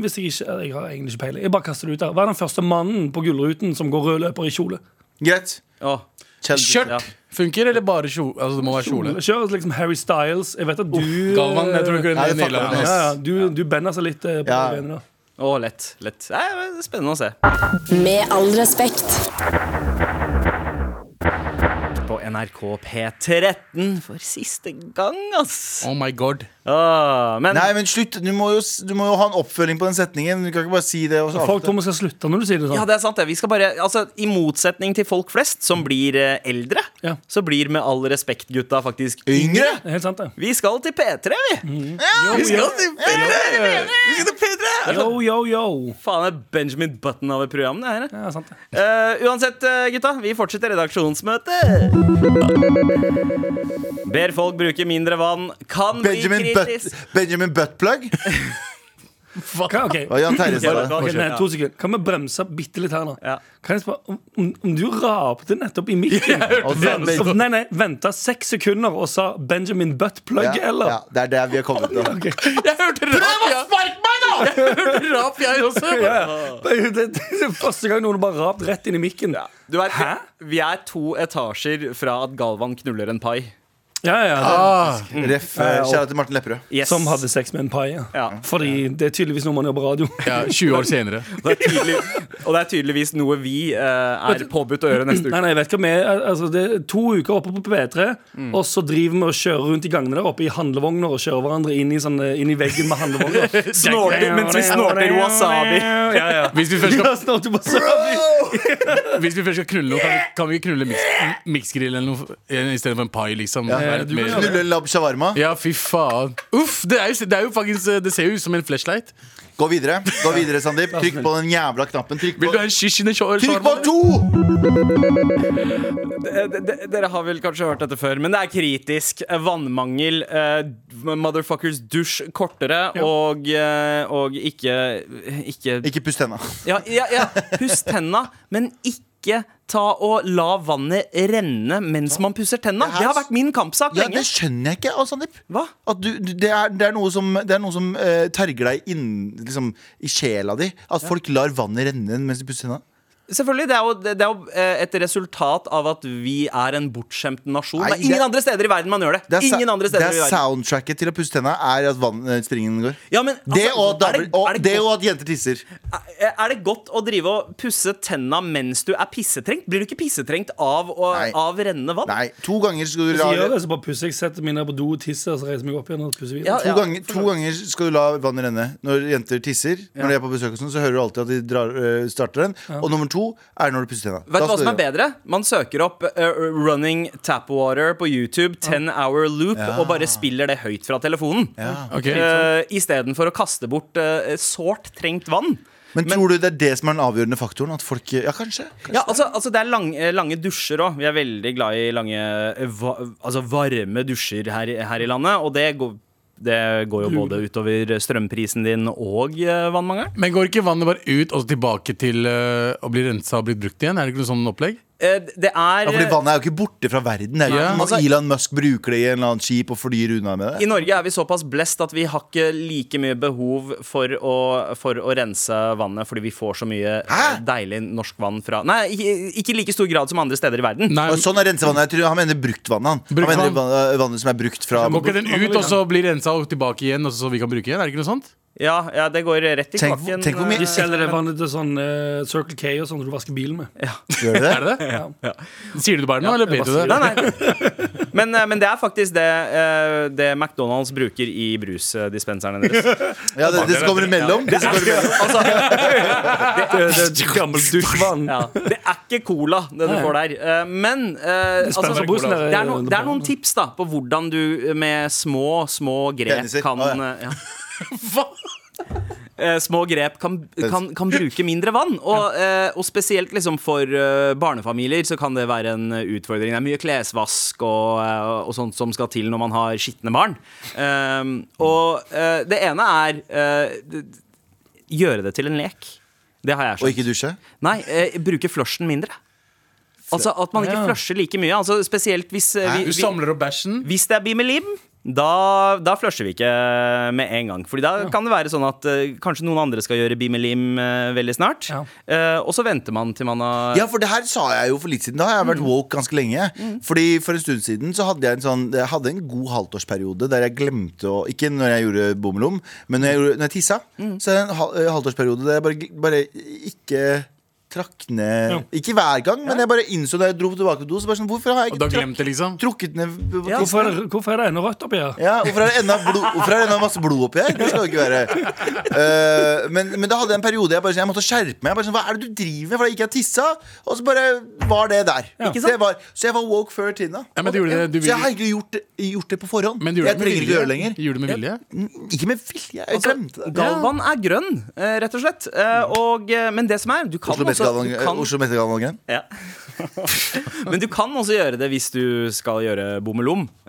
[SPEAKER 4] Hvis jeg ikke Jeg har egentlig ikke peiling. Jeg bare kaster det ut der. Vær den første mannen på Gullruten som går rød løper i kjole.
[SPEAKER 3] Greit
[SPEAKER 2] Åh,
[SPEAKER 3] Challenge.
[SPEAKER 5] Skjørt
[SPEAKER 2] Ja.
[SPEAKER 5] funker, eller bare kjole? Altså, det må være kjole.
[SPEAKER 4] Kjør liksom Harry Styles. Jeg vet at du
[SPEAKER 5] Galvan, jeg tror
[SPEAKER 3] Nei,
[SPEAKER 5] ikke det
[SPEAKER 3] det
[SPEAKER 5] er
[SPEAKER 3] fucker
[SPEAKER 5] nailer
[SPEAKER 3] jeg
[SPEAKER 5] han,
[SPEAKER 3] med.
[SPEAKER 5] ass.
[SPEAKER 4] ja, ja, du, du bender seg litt eh, på
[SPEAKER 3] Ja.
[SPEAKER 4] det benet. da.
[SPEAKER 2] åh, lett. lett. Nei, men det er spennende å se.
[SPEAKER 1] Med all respekt.
[SPEAKER 2] På NRK P13 for siste gang, ass.
[SPEAKER 5] Oh my god.
[SPEAKER 2] Åh, men,
[SPEAKER 3] Nei, men slutt, du må, jo, s- du må jo ha en oppfølging på den setningen Du kan ikke bare si det og så
[SPEAKER 4] Folk
[SPEAKER 3] avslutte.
[SPEAKER 4] tror vi skal slutte når du sier det
[SPEAKER 2] ja,
[SPEAKER 4] sånn.
[SPEAKER 2] det er sant, det. Vi skal bare, altså, I motsetning til folk flest, som blir eh, eldre,
[SPEAKER 4] Ja.
[SPEAKER 2] så blir med all respekt gutta faktisk
[SPEAKER 3] Yngre?
[SPEAKER 4] Det er helt sant, det.
[SPEAKER 2] Vi skal til P3, vi!
[SPEAKER 4] Mm.
[SPEAKER 2] vi skal til P3! Vi skal til P3! Det er sånn,
[SPEAKER 4] Yo, yo, yo.
[SPEAKER 2] faen det er Benjamin Button av et program, det her.
[SPEAKER 4] Ja, det er sant, det.
[SPEAKER 2] Eh, uansett, eh, gutta, vi fortsetter redaksjonsmøte. Ber folk bruke mindre vann. Kan
[SPEAKER 3] Benjamin,
[SPEAKER 2] bli
[SPEAKER 3] Butt,
[SPEAKER 2] kritisk.
[SPEAKER 3] Benjamin Buttplug?
[SPEAKER 4] Hva- ok.
[SPEAKER 3] Hva Jan Terje sa det?
[SPEAKER 2] Ja,
[SPEAKER 4] Ok, nei,
[SPEAKER 2] ja.
[SPEAKER 4] to sekunder. Kan vi bremse bitte litt her nå?
[SPEAKER 2] Ja.
[SPEAKER 4] Kan jeg spørre, om- om, om du rapte nettopp i mikken
[SPEAKER 3] det.
[SPEAKER 4] Vent- Nei, nei, venta seks sekunder og sa Benjamin Buttplug,
[SPEAKER 3] Ja,
[SPEAKER 4] eller?
[SPEAKER 3] ja, det er der vi har kommet til.
[SPEAKER 5] Jeg hørte rap, ja. Jeg hørte rap, jeg også.
[SPEAKER 4] Det, det, det er første gang noen bare rapt rett inn i mikken. Ja,
[SPEAKER 2] Du vet,
[SPEAKER 4] Hæ?
[SPEAKER 2] Vi er to etasjer fra at Galvan knuller en pai.
[SPEAKER 4] ja, det,
[SPEAKER 5] Ah,
[SPEAKER 3] Ref, eh, kjære til Martin Lepperød.
[SPEAKER 2] Yes.
[SPEAKER 4] Som hadde sex med en pai. Ja.
[SPEAKER 2] Ja.
[SPEAKER 4] Fordi det er tydeligvis noe man gjør på radio.
[SPEAKER 5] ja, 20 år senere.
[SPEAKER 2] Det er tydelig, og det er tydeligvis noe vi eh, er påbudt å gjøre neste uke.
[SPEAKER 4] Nei, nei, jeg vet ikke om jeg, altså, Det er to uker oppe på P3, og så driver vi og kjører rundt i gangene der oppe i handlevogner og kjører hverandre inn i, sånne, inn i veggen med handlevogner.
[SPEAKER 2] Snorter, mens vi snorter wasabi.
[SPEAKER 4] Ja, ja.
[SPEAKER 5] Hvis vi først skal,
[SPEAKER 4] Ja, snorter wasabi.
[SPEAKER 5] hvis vi først skal knulle noe, kan vi, kan vi knulle mix- mixgrill eller noe eh, i stedet for en pai, liksom? Det er litt mer-
[SPEAKER 3] Knulle en labb shawarma?
[SPEAKER 5] eh, Ja, fy faen. Uff, det, er jo, det, er jo faktisk, det ser jo ut som en flashlight.
[SPEAKER 3] Gå videre, gå videre, Sandeep. Trykk på den jævla knappen. Trykk
[SPEAKER 5] Vil du
[SPEAKER 3] på,
[SPEAKER 5] ha en shish in the shower?
[SPEAKER 3] trykk på
[SPEAKER 5] Sharman?
[SPEAKER 3] to!
[SPEAKER 2] D- d- Dere har vel kanskje hørt dette før, men det er kritisk. Vannmangel. eh, motherfuckers dusj kortere og, eh, og ikke, ikke
[SPEAKER 3] Ikke pust tenna.
[SPEAKER 2] Ja, ja, ja. puss tenna, men ikke ta og la vannet renne mens man pusser tenna. Det har vært min kampsak
[SPEAKER 3] Ja, det
[SPEAKER 2] lenge.
[SPEAKER 3] skjønner jeg ikke, altså, Sandeep.
[SPEAKER 2] Hva?
[SPEAKER 3] At du, du- det, er, det er noe som, det er noe som eh, terger deg inn, liksom, i sjela di. At folk lar vannet renne mens de pusser tenna.
[SPEAKER 2] Selvfølgelig. Det er jo, det er jo eh, et resultat av at vi er en bortskjemt nasjon.
[SPEAKER 3] Nei,
[SPEAKER 2] det er ingen
[SPEAKER 3] det-
[SPEAKER 2] andre steder i verden man gjør det.
[SPEAKER 3] Det er, sa-
[SPEAKER 2] ingen andre
[SPEAKER 3] det
[SPEAKER 2] steder
[SPEAKER 3] er
[SPEAKER 2] i verden
[SPEAKER 3] soundtracket til å pusse tenna er at vann, eh, springen går.
[SPEAKER 2] ja, men,
[SPEAKER 3] Det
[SPEAKER 2] altså,
[SPEAKER 3] og,
[SPEAKER 2] er
[SPEAKER 3] dabler,
[SPEAKER 2] det-
[SPEAKER 3] og,
[SPEAKER 2] er det
[SPEAKER 3] det
[SPEAKER 2] godt-
[SPEAKER 3] og at jenter tisser.
[SPEAKER 2] Er er det godt å drive og pusse tenna mens du er pissetrengt? Blir du ikke pissetrengt av, å,
[SPEAKER 3] Nei.
[SPEAKER 2] av rennende vann?
[SPEAKER 3] Nei, to ganger skal du
[SPEAKER 4] Hvis
[SPEAKER 3] la
[SPEAKER 4] jeg gjør det, så bare pusser jeg, setter meg ned på do og tisser, og så reiser jeg meg opp igjen og pusser videre.
[SPEAKER 2] Ja,
[SPEAKER 3] To, ganger, to ganger skal du la vannet renne når jenter tisser. Når de er på besøk hos noen, så hører du alltid at de drar, øh, starter den. Og nummer to er når du pusser tenna.
[SPEAKER 2] Vet du
[SPEAKER 3] Da
[SPEAKER 2] hva
[SPEAKER 3] skal
[SPEAKER 2] som er
[SPEAKER 3] du gjøre det.
[SPEAKER 2] bedre? Man søker opp eh, 'Running Tap Water' på YouTube, 10 Hour Loop, og bare spiller det høyt fra telefonen.
[SPEAKER 5] Ok. eh,
[SPEAKER 2] Uh, Istedenfor å kaste bort eh, sårt trengt vann.
[SPEAKER 3] Men, tror du det er det som er den avgjørende faktoren? At folk Ja, kanskje. kanskje.
[SPEAKER 2] Ja, altså, altså Det er lang, eh, lange dusjer òg. Vi er veldig glad i lange, eh, va, altså varme dusjer her, i- her i landet. Og det går, det går jo både utover strømprisen din og eh, vannmangelen.
[SPEAKER 5] Men går ikke vannet bare ut og så tilbake til eh, å bli rensa og blitt brukt igjen? Er det ikke noe sånn opplegg?
[SPEAKER 2] Eh, det er
[SPEAKER 3] Ja, fordi vannet er jo ikke borte fra verden. Det er jo
[SPEAKER 5] Ja.
[SPEAKER 3] ikke noe
[SPEAKER 2] Altså-
[SPEAKER 3] Elon Musk bruker det i en eller annen skip og flyr unna med
[SPEAKER 2] eh, I
[SPEAKER 3] det.
[SPEAKER 2] Norge er vi såpass blest at vi har ikke like mye behov for å, for å rense vannet fordi vi får så mye eh,
[SPEAKER 3] Hæ?
[SPEAKER 2] deilig norsk vann fra Nei, ikke, ikke i like stor grad som andre steder i verden.
[SPEAKER 5] Nei,
[SPEAKER 3] Og sånn er rensevannet. Jeg tror han mener bruktvannet. Han, han
[SPEAKER 5] Bruktvann.
[SPEAKER 3] mener vann- vannet som er brukt fra
[SPEAKER 5] Går ikke den ut og så blir rensa og tilbake igjen, og så vi kan bruke igjen? Er det ikke noe sånt?
[SPEAKER 2] Ja, ja det går rett i
[SPEAKER 3] Tenk-
[SPEAKER 2] kloakken. eh,
[SPEAKER 3] tenk hvor mye-
[SPEAKER 4] De selger det vannet til sånn eh, Circle K og sånn som du vasker bilen med.
[SPEAKER 3] Gjør det det?
[SPEAKER 5] Er det det? Sier du det bare nå, eller
[SPEAKER 4] jeg
[SPEAKER 5] ber
[SPEAKER 4] bare
[SPEAKER 5] du det?
[SPEAKER 4] sier
[SPEAKER 2] Nei, nei. Men, eh, men det er faktisk det, eh, det McDonald's bruker i brusdispenserne deres.
[SPEAKER 3] Ja, det, det som kommer imellom. Det som kommer imellom.
[SPEAKER 2] Altså,
[SPEAKER 4] Det, det er gammelt dusjvann.
[SPEAKER 2] ja. Sånn. Det er ikke cola, det du
[SPEAKER 4] Nei.
[SPEAKER 2] får der. Eh, Men eh,
[SPEAKER 4] spenner
[SPEAKER 2] altså,
[SPEAKER 4] på bussen,
[SPEAKER 2] det, er no,
[SPEAKER 4] det-
[SPEAKER 2] det er noen tips da på hvordan du eh, med små, små grep
[SPEAKER 3] Peniser.
[SPEAKER 2] kan
[SPEAKER 3] Å, ja.
[SPEAKER 2] eh, ja. Eh, små grep kan, kan, kan bruke mindre vann. Og, eh, og spesielt liksom for eh, barnefamilier så kan det være en eh, utfordring. Det er mye klesvask og, eh, og sånt som skal til når man har skitne barn. Ehm, og eh, det ene er eh, d- d- gjøre det til en lek. Det har jeg
[SPEAKER 3] Og
[SPEAKER 2] skjønt.
[SPEAKER 3] ikke dusje.
[SPEAKER 2] Nei, eh, bruke flushen mindre. Altså At man ikke
[SPEAKER 4] Ja.
[SPEAKER 2] flusher like mye. Altså Spesielt hvis, eh,
[SPEAKER 3] Hæ?
[SPEAKER 2] vi,
[SPEAKER 5] Du
[SPEAKER 2] vi,
[SPEAKER 5] samler opp bæsjen.
[SPEAKER 2] hvis det er bimelim. Da, da flusher vi ikke eh, med en gang. Fordi da kan det være sånn at eh, kanskje noen andre skal gjøre bimelim eh, veldig snart.
[SPEAKER 4] Ja.
[SPEAKER 2] Eh, og så venter man til man har
[SPEAKER 3] Ja, for det her sa jeg jo for litt siden. Da har jeg
[SPEAKER 5] Mm.
[SPEAKER 3] vært woke ganske lenge. Fordi For en stund siden så hadde jeg en sånn Jeg hadde en god halvtårsperiode der jeg glemte å Ikke når jeg gjorde bommelom, men når jeg, gjorde- når jeg tissa.
[SPEAKER 5] Mm.
[SPEAKER 3] Så er det en hal- eh, halvtårsperiode der jeg bare, gl- bare ikke trakk ned Ikke hver gang, men jeg bare innså da jeg dro tilbake på do, så bare sånn Hvorfor har jeg
[SPEAKER 5] Og
[SPEAKER 3] ikke
[SPEAKER 5] da
[SPEAKER 3] trakk,
[SPEAKER 5] glemte jeg, liksom.
[SPEAKER 3] trukket ned på på
[SPEAKER 2] Ja.
[SPEAKER 3] tissen?
[SPEAKER 4] Hvorfor er, det, hvorfor er det ennå rødt oppi her?
[SPEAKER 3] Ja, hvorfor er det enda, blod, hvorfor er det enda masse blod oppi her? Det skal det ikke være. Eh, men, men da hadde jeg en periode jeg, bare, sånn, jeg måtte skjerpe meg. Jeg bare, sånn, Hva er det du driver med? For da gikk jeg og tissa, og så bare var det der.
[SPEAKER 2] Ikke sant?
[SPEAKER 3] Det var, så jeg var woke før tiden. da.
[SPEAKER 5] Ja, men du gjorde det,
[SPEAKER 3] så
[SPEAKER 5] du
[SPEAKER 3] jeg har
[SPEAKER 5] ville-
[SPEAKER 3] egentlig gjort, det- gjort det på forhånd.
[SPEAKER 5] Men du
[SPEAKER 3] jeg
[SPEAKER 5] gjorde det med
[SPEAKER 3] trenger ikke
[SPEAKER 5] vilje.
[SPEAKER 3] gjøre det lenger.
[SPEAKER 5] Gjorde du det med vilje?
[SPEAKER 3] Ikke med vilje. Jeg
[SPEAKER 2] Altså,
[SPEAKER 3] glemte det.
[SPEAKER 2] Galvan er grønn, eh, rett og slett. Eh, og, eh, men det som er du kan
[SPEAKER 3] Oslo
[SPEAKER 2] også,
[SPEAKER 3] Mette-Galvan-
[SPEAKER 2] du
[SPEAKER 3] eh,
[SPEAKER 2] kan,
[SPEAKER 3] Oslo Mette-Galvan-gren.
[SPEAKER 2] ja. Men du kan også gjøre det hvis du skal gjøre bommelom. Eh,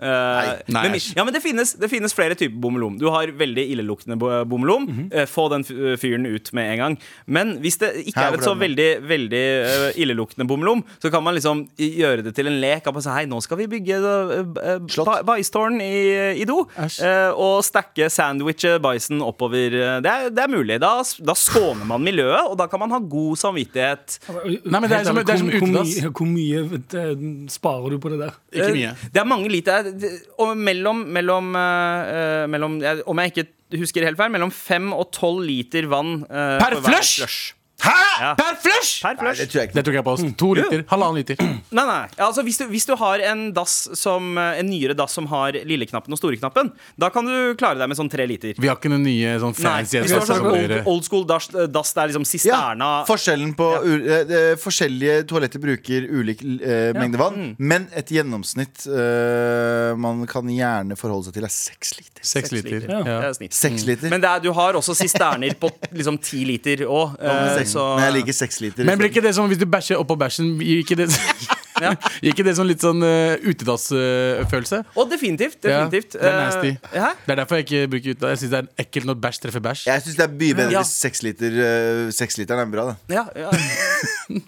[SPEAKER 5] Nei,
[SPEAKER 2] men,
[SPEAKER 5] æsj.
[SPEAKER 2] ja, men det finnes, det finnes flere typer bommelom. Du har veldig illeluktende bo- bommelom. Eh, Få den f- fyren ut med en gang. Men hvis det ikke
[SPEAKER 3] Her
[SPEAKER 2] er et så
[SPEAKER 3] får den.
[SPEAKER 2] veldig, veldig eh, illeluktende bommelom, så kan man liksom i- gjøre det til en lek. At man sier, Hei, nå skal vi bygge eh, eh,
[SPEAKER 3] Slott.
[SPEAKER 2] ba- bajstårn i, i do.
[SPEAKER 5] Æsj.
[SPEAKER 2] eh, Og stacke sandwiche bajsen oppover. Eh, Det er, det er mulig. Da, s- da skåner man miljøet, og da kan man ha god samvittighet.
[SPEAKER 5] Nei, men det er
[SPEAKER 4] Helt
[SPEAKER 5] som-
[SPEAKER 4] ærlig,
[SPEAKER 5] det er som
[SPEAKER 4] hvor- hvor
[SPEAKER 5] utedass.
[SPEAKER 4] mye- Hvor mye eh, sparer du på det der?
[SPEAKER 5] Ikke mye.
[SPEAKER 2] Eh, Det er mange liter. Det er- Og mellom, mellom, eh, eh, mellom jeg- Om jeg ikke husker helt feil, mellom fem og tolv liter vann eh,
[SPEAKER 5] Per
[SPEAKER 2] for hver
[SPEAKER 5] flush?
[SPEAKER 3] Hæ?!
[SPEAKER 2] Ja.
[SPEAKER 5] Per flush!
[SPEAKER 2] Per
[SPEAKER 3] Nei,
[SPEAKER 2] flush.
[SPEAKER 3] det tror jeg ikke.
[SPEAKER 5] Det tok jeg på oss. To liter. Halvannen liter.
[SPEAKER 2] Nei, nei. Altså, hvis, du, hvis du har en dass som, eh, en nyere dass som har lilleknappen og storeknappen, da kan du klare deg med sånn tre liter.
[SPEAKER 5] Vi har ikke noen nye sånn
[SPEAKER 2] Nei,
[SPEAKER 5] fancy
[SPEAKER 2] hvis du har sånn old,
[SPEAKER 5] SSL-er.
[SPEAKER 2] old school dass, dass der liksom
[SPEAKER 3] Ja,
[SPEAKER 2] sisterna
[SPEAKER 3] forskjellen på u- eh, eh, Forskjellige toaletter bruker ulik eh, mengde vann, men et gjennomsnitt eh, man kan gjerne forholde seg til, er seks liter.
[SPEAKER 5] Seks liter.
[SPEAKER 2] Ja.
[SPEAKER 5] Ja.
[SPEAKER 2] det er snitt.
[SPEAKER 3] Seks liter.
[SPEAKER 2] Men det er, du har også sisterner på liksom ti liter òg.
[SPEAKER 3] Seks-
[SPEAKER 2] så
[SPEAKER 3] Men jeg liker seks liter.
[SPEAKER 5] Men blir ikke det som hvis du bæsjer oppå bæsjen Gir ikke det, gir ikke det sånn litt sånn uh, utedassfølelse?
[SPEAKER 2] Og definitivt.
[SPEAKER 5] Ja,
[SPEAKER 2] definitivt.
[SPEAKER 5] det er nasty.
[SPEAKER 2] Eh, hæ?
[SPEAKER 5] det er derfor jeg ikke bruker utedass. Jeg syns det er ekkelt når bæsj treffer bæsj.
[SPEAKER 3] Jeg syns det er mye bedre
[SPEAKER 2] Ja.
[SPEAKER 3] hvis seks liter eh, Seks literen er bra, da.
[SPEAKER 2] Ja, ja.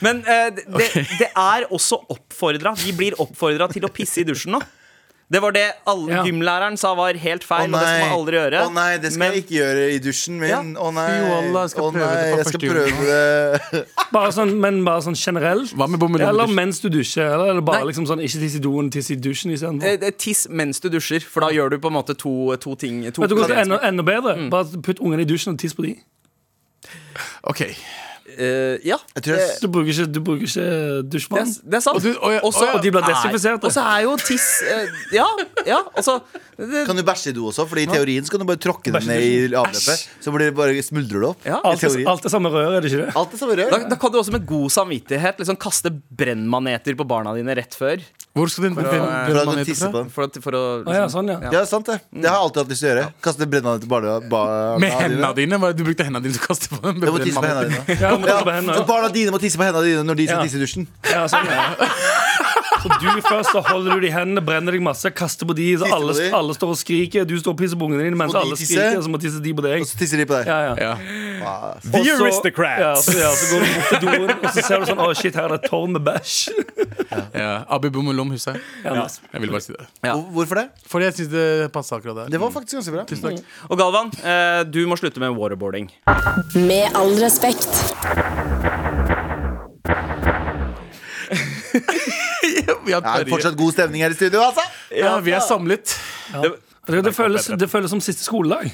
[SPEAKER 2] Men eh, det, det er også oppfordra. Vi blir oppfordra til å pisse i dusjen nå. Det var det alle
[SPEAKER 4] Ja.
[SPEAKER 2] gymlæreren sa var helt feil. og det skal man aldri gjøre
[SPEAKER 3] Å nei, det skal
[SPEAKER 2] Men-
[SPEAKER 3] jeg ikke gjøre i dusjen min.
[SPEAKER 2] Ja.
[SPEAKER 3] Å nei,
[SPEAKER 5] Jo, Allah, jeg skal
[SPEAKER 3] å
[SPEAKER 5] prøve det
[SPEAKER 3] nei,
[SPEAKER 5] fra
[SPEAKER 3] jeg skal
[SPEAKER 5] første juli.
[SPEAKER 3] prøve det.
[SPEAKER 4] Bare sånn, men bare sånn generelt.
[SPEAKER 5] Hva med bommen?
[SPEAKER 4] Eller mens du dusjer. Eller er det bare
[SPEAKER 2] Nei.
[SPEAKER 4] liksom sånn ikke tiss i doen, tiss i dusjen istedenfor?
[SPEAKER 2] Eh, det- Tiss mens du dusjer, for da gjør du på en måte to, to ting. To
[SPEAKER 4] Vet du hva som er enda,
[SPEAKER 2] eh,
[SPEAKER 4] enda bedre? Bare putt ungene i dusjen og tiss på de.
[SPEAKER 5] Ok.
[SPEAKER 2] Eh, ja.
[SPEAKER 3] Jeg tror jeg
[SPEAKER 4] Du bruker ikke, du bruker ikke
[SPEAKER 2] Det,
[SPEAKER 4] dusjvann.
[SPEAKER 2] er- det er sant.
[SPEAKER 5] Og du- og ja,
[SPEAKER 2] Også-
[SPEAKER 5] og ja,
[SPEAKER 4] de blir
[SPEAKER 2] er-
[SPEAKER 4] desinfiserte.
[SPEAKER 2] Og så er jo tiss eh, Ja, ja altså det,
[SPEAKER 3] Kan du bæsje i do også? Fordi i teorien så kan du bare tråkke det ned i avløpet. Så blir det bare smuldrer det opp.
[SPEAKER 2] Ja.
[SPEAKER 3] I
[SPEAKER 4] Alt, er-
[SPEAKER 3] teorien.
[SPEAKER 4] alt er samme rør, er det ikke det?
[SPEAKER 3] Alt er samme rør.
[SPEAKER 2] da, da kan du også med god samvittighet liksom kaste brennmaneter på barna dine rett før.
[SPEAKER 5] Hvor skal den
[SPEAKER 3] For at
[SPEAKER 5] brennmanen
[SPEAKER 3] du tisser på
[SPEAKER 5] eh, fra?
[SPEAKER 3] dem.
[SPEAKER 2] For, at- for å liksom-
[SPEAKER 4] Å ja, sånn, ja.
[SPEAKER 3] Ja, det er sant det. Det har jeg alltid hatt lyst til å gjøre. Kaste brennene til barna, barna
[SPEAKER 5] Med hendene dine? Var det du brukte hendene dine til å kaste på dem?
[SPEAKER 3] Jeg må tisse på hendene dine.
[SPEAKER 4] Ja, må ta på hendene,
[SPEAKER 3] så
[SPEAKER 4] ja.
[SPEAKER 3] barna dine må tisse på hendene dine når de skal
[SPEAKER 4] Ja.
[SPEAKER 3] tisse i dusjen.
[SPEAKER 4] Ja, sånn, ja. Så du først så holder du de i hendene, brenner deg masse, kaster på de, så
[SPEAKER 3] Tisser på
[SPEAKER 4] alle,
[SPEAKER 3] de.
[SPEAKER 4] alle står og skriker, du står og pisser på ungene dine mens
[SPEAKER 3] må de
[SPEAKER 4] alle
[SPEAKER 3] tisse.
[SPEAKER 4] skriker, og så må tisse de på deg.
[SPEAKER 3] Og så tisser de på deg.
[SPEAKER 4] Ja, ja.
[SPEAKER 5] Ja.
[SPEAKER 3] Faen.
[SPEAKER 4] Og så-
[SPEAKER 5] aristocrats.
[SPEAKER 4] Ja, så, ja, så går du bort til doen, og så ser du sånn Å, shit, her er det et tårn med bæsj.
[SPEAKER 5] Ja. Abi Bommelom Hussein.
[SPEAKER 4] Ja, nice.
[SPEAKER 5] Jeg ville bare si det.
[SPEAKER 2] Ja.
[SPEAKER 3] Hvor- Hvorfor det?
[SPEAKER 5] Fordi jeg syns det passer akkurat der.
[SPEAKER 3] Det var faktisk ganske bra.
[SPEAKER 2] Og Galvan, eh, du må slutte med waterboarding.
[SPEAKER 6] Med all respekt.
[SPEAKER 5] Vi
[SPEAKER 3] Ja,
[SPEAKER 5] har
[SPEAKER 3] det er
[SPEAKER 5] tørre-
[SPEAKER 3] fortsatt god stemning her i studio, altså.
[SPEAKER 5] ja, vi er samlet.
[SPEAKER 4] Det, det, føles, det føles som siste skoledag.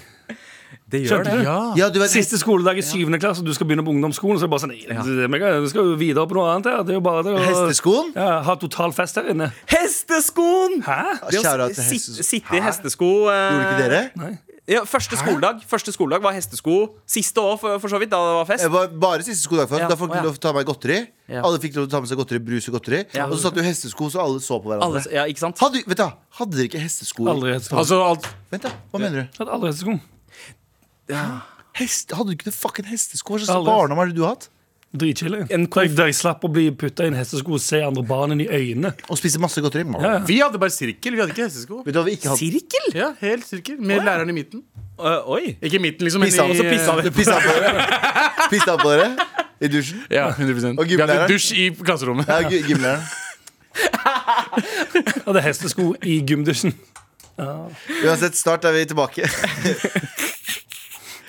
[SPEAKER 2] Det
[SPEAKER 4] Skjønte du?
[SPEAKER 5] Ja.
[SPEAKER 3] Ja, du vet,
[SPEAKER 4] Siste skoledag i syvende klasse, og du skal begynne på ungdomsskolen. Så er det bare sånn, nei, det- det- jeg skal jo videre på noe annet her. Det er jo bare det å
[SPEAKER 3] Hesteskoen?
[SPEAKER 4] ja, ha total fest her inne.
[SPEAKER 2] Hesteskoen!
[SPEAKER 4] Hæ?
[SPEAKER 2] Det å
[SPEAKER 3] Shout out til
[SPEAKER 2] sit-
[SPEAKER 3] hestesko.
[SPEAKER 2] sitte i hestesko eh,
[SPEAKER 3] Gjorde ikke dere?
[SPEAKER 2] Ja, første skoledag Første skoledag var hestesko. Siste år, for, for så vidt, da det var fest.
[SPEAKER 3] Jeg var bare siste skoledag for
[SPEAKER 2] Ja,
[SPEAKER 3] Da fikk
[SPEAKER 2] å, ja.
[SPEAKER 3] du lov til å ta med godteri.
[SPEAKER 2] Ja.
[SPEAKER 3] Alle fikk lov til å ta med seg godteri, brus og godteri. Og så satt du i hestesko, så alle så på
[SPEAKER 2] Alle,
[SPEAKER 3] hverandre.
[SPEAKER 2] ja, ikke sant?
[SPEAKER 3] Hadde, vet du, hva? hadde dere ikke hestesko?
[SPEAKER 4] Aldri hestesko.
[SPEAKER 5] Altså alt
[SPEAKER 3] Vent, da. Hva mener du?
[SPEAKER 4] Jeg hadde Aldri hestesko.
[SPEAKER 3] Hest, hadde du ikke det fucking hestesko? Hva slags
[SPEAKER 4] Aldri.
[SPEAKER 3] barndom har du hatt?
[SPEAKER 4] Dritkjedelig.
[SPEAKER 2] En
[SPEAKER 4] Da jeg- Da jeg slapp å bli putta i en hestesko og se andre barn inn i øynene.
[SPEAKER 3] Og spiste masse godteri?
[SPEAKER 4] Ja, ja.
[SPEAKER 5] Vi hadde bare sirkel, vi hadde ikke hestesko.
[SPEAKER 3] Vet du hva vi ikke hadde?
[SPEAKER 2] Sirkel?
[SPEAKER 5] Ja, helt sirkel Med læreren i midten.
[SPEAKER 2] Eh, oi.
[SPEAKER 5] Ikke i midten, liksom. men
[SPEAKER 3] Pissa,
[SPEAKER 5] i,
[SPEAKER 3] og så
[SPEAKER 5] eh,
[SPEAKER 3] pissa vi. Pissa på dere? Pissa på dere? I dusjen?
[SPEAKER 5] Ja, 100%
[SPEAKER 3] Og
[SPEAKER 5] Vi hadde
[SPEAKER 3] gymlæreren.
[SPEAKER 5] dusj i klasserommet.
[SPEAKER 3] Ja, gy- gymlæreren.
[SPEAKER 4] Jeg hadde hestesko i gymdusjen.
[SPEAKER 3] Uansett, snart er vi tilbake.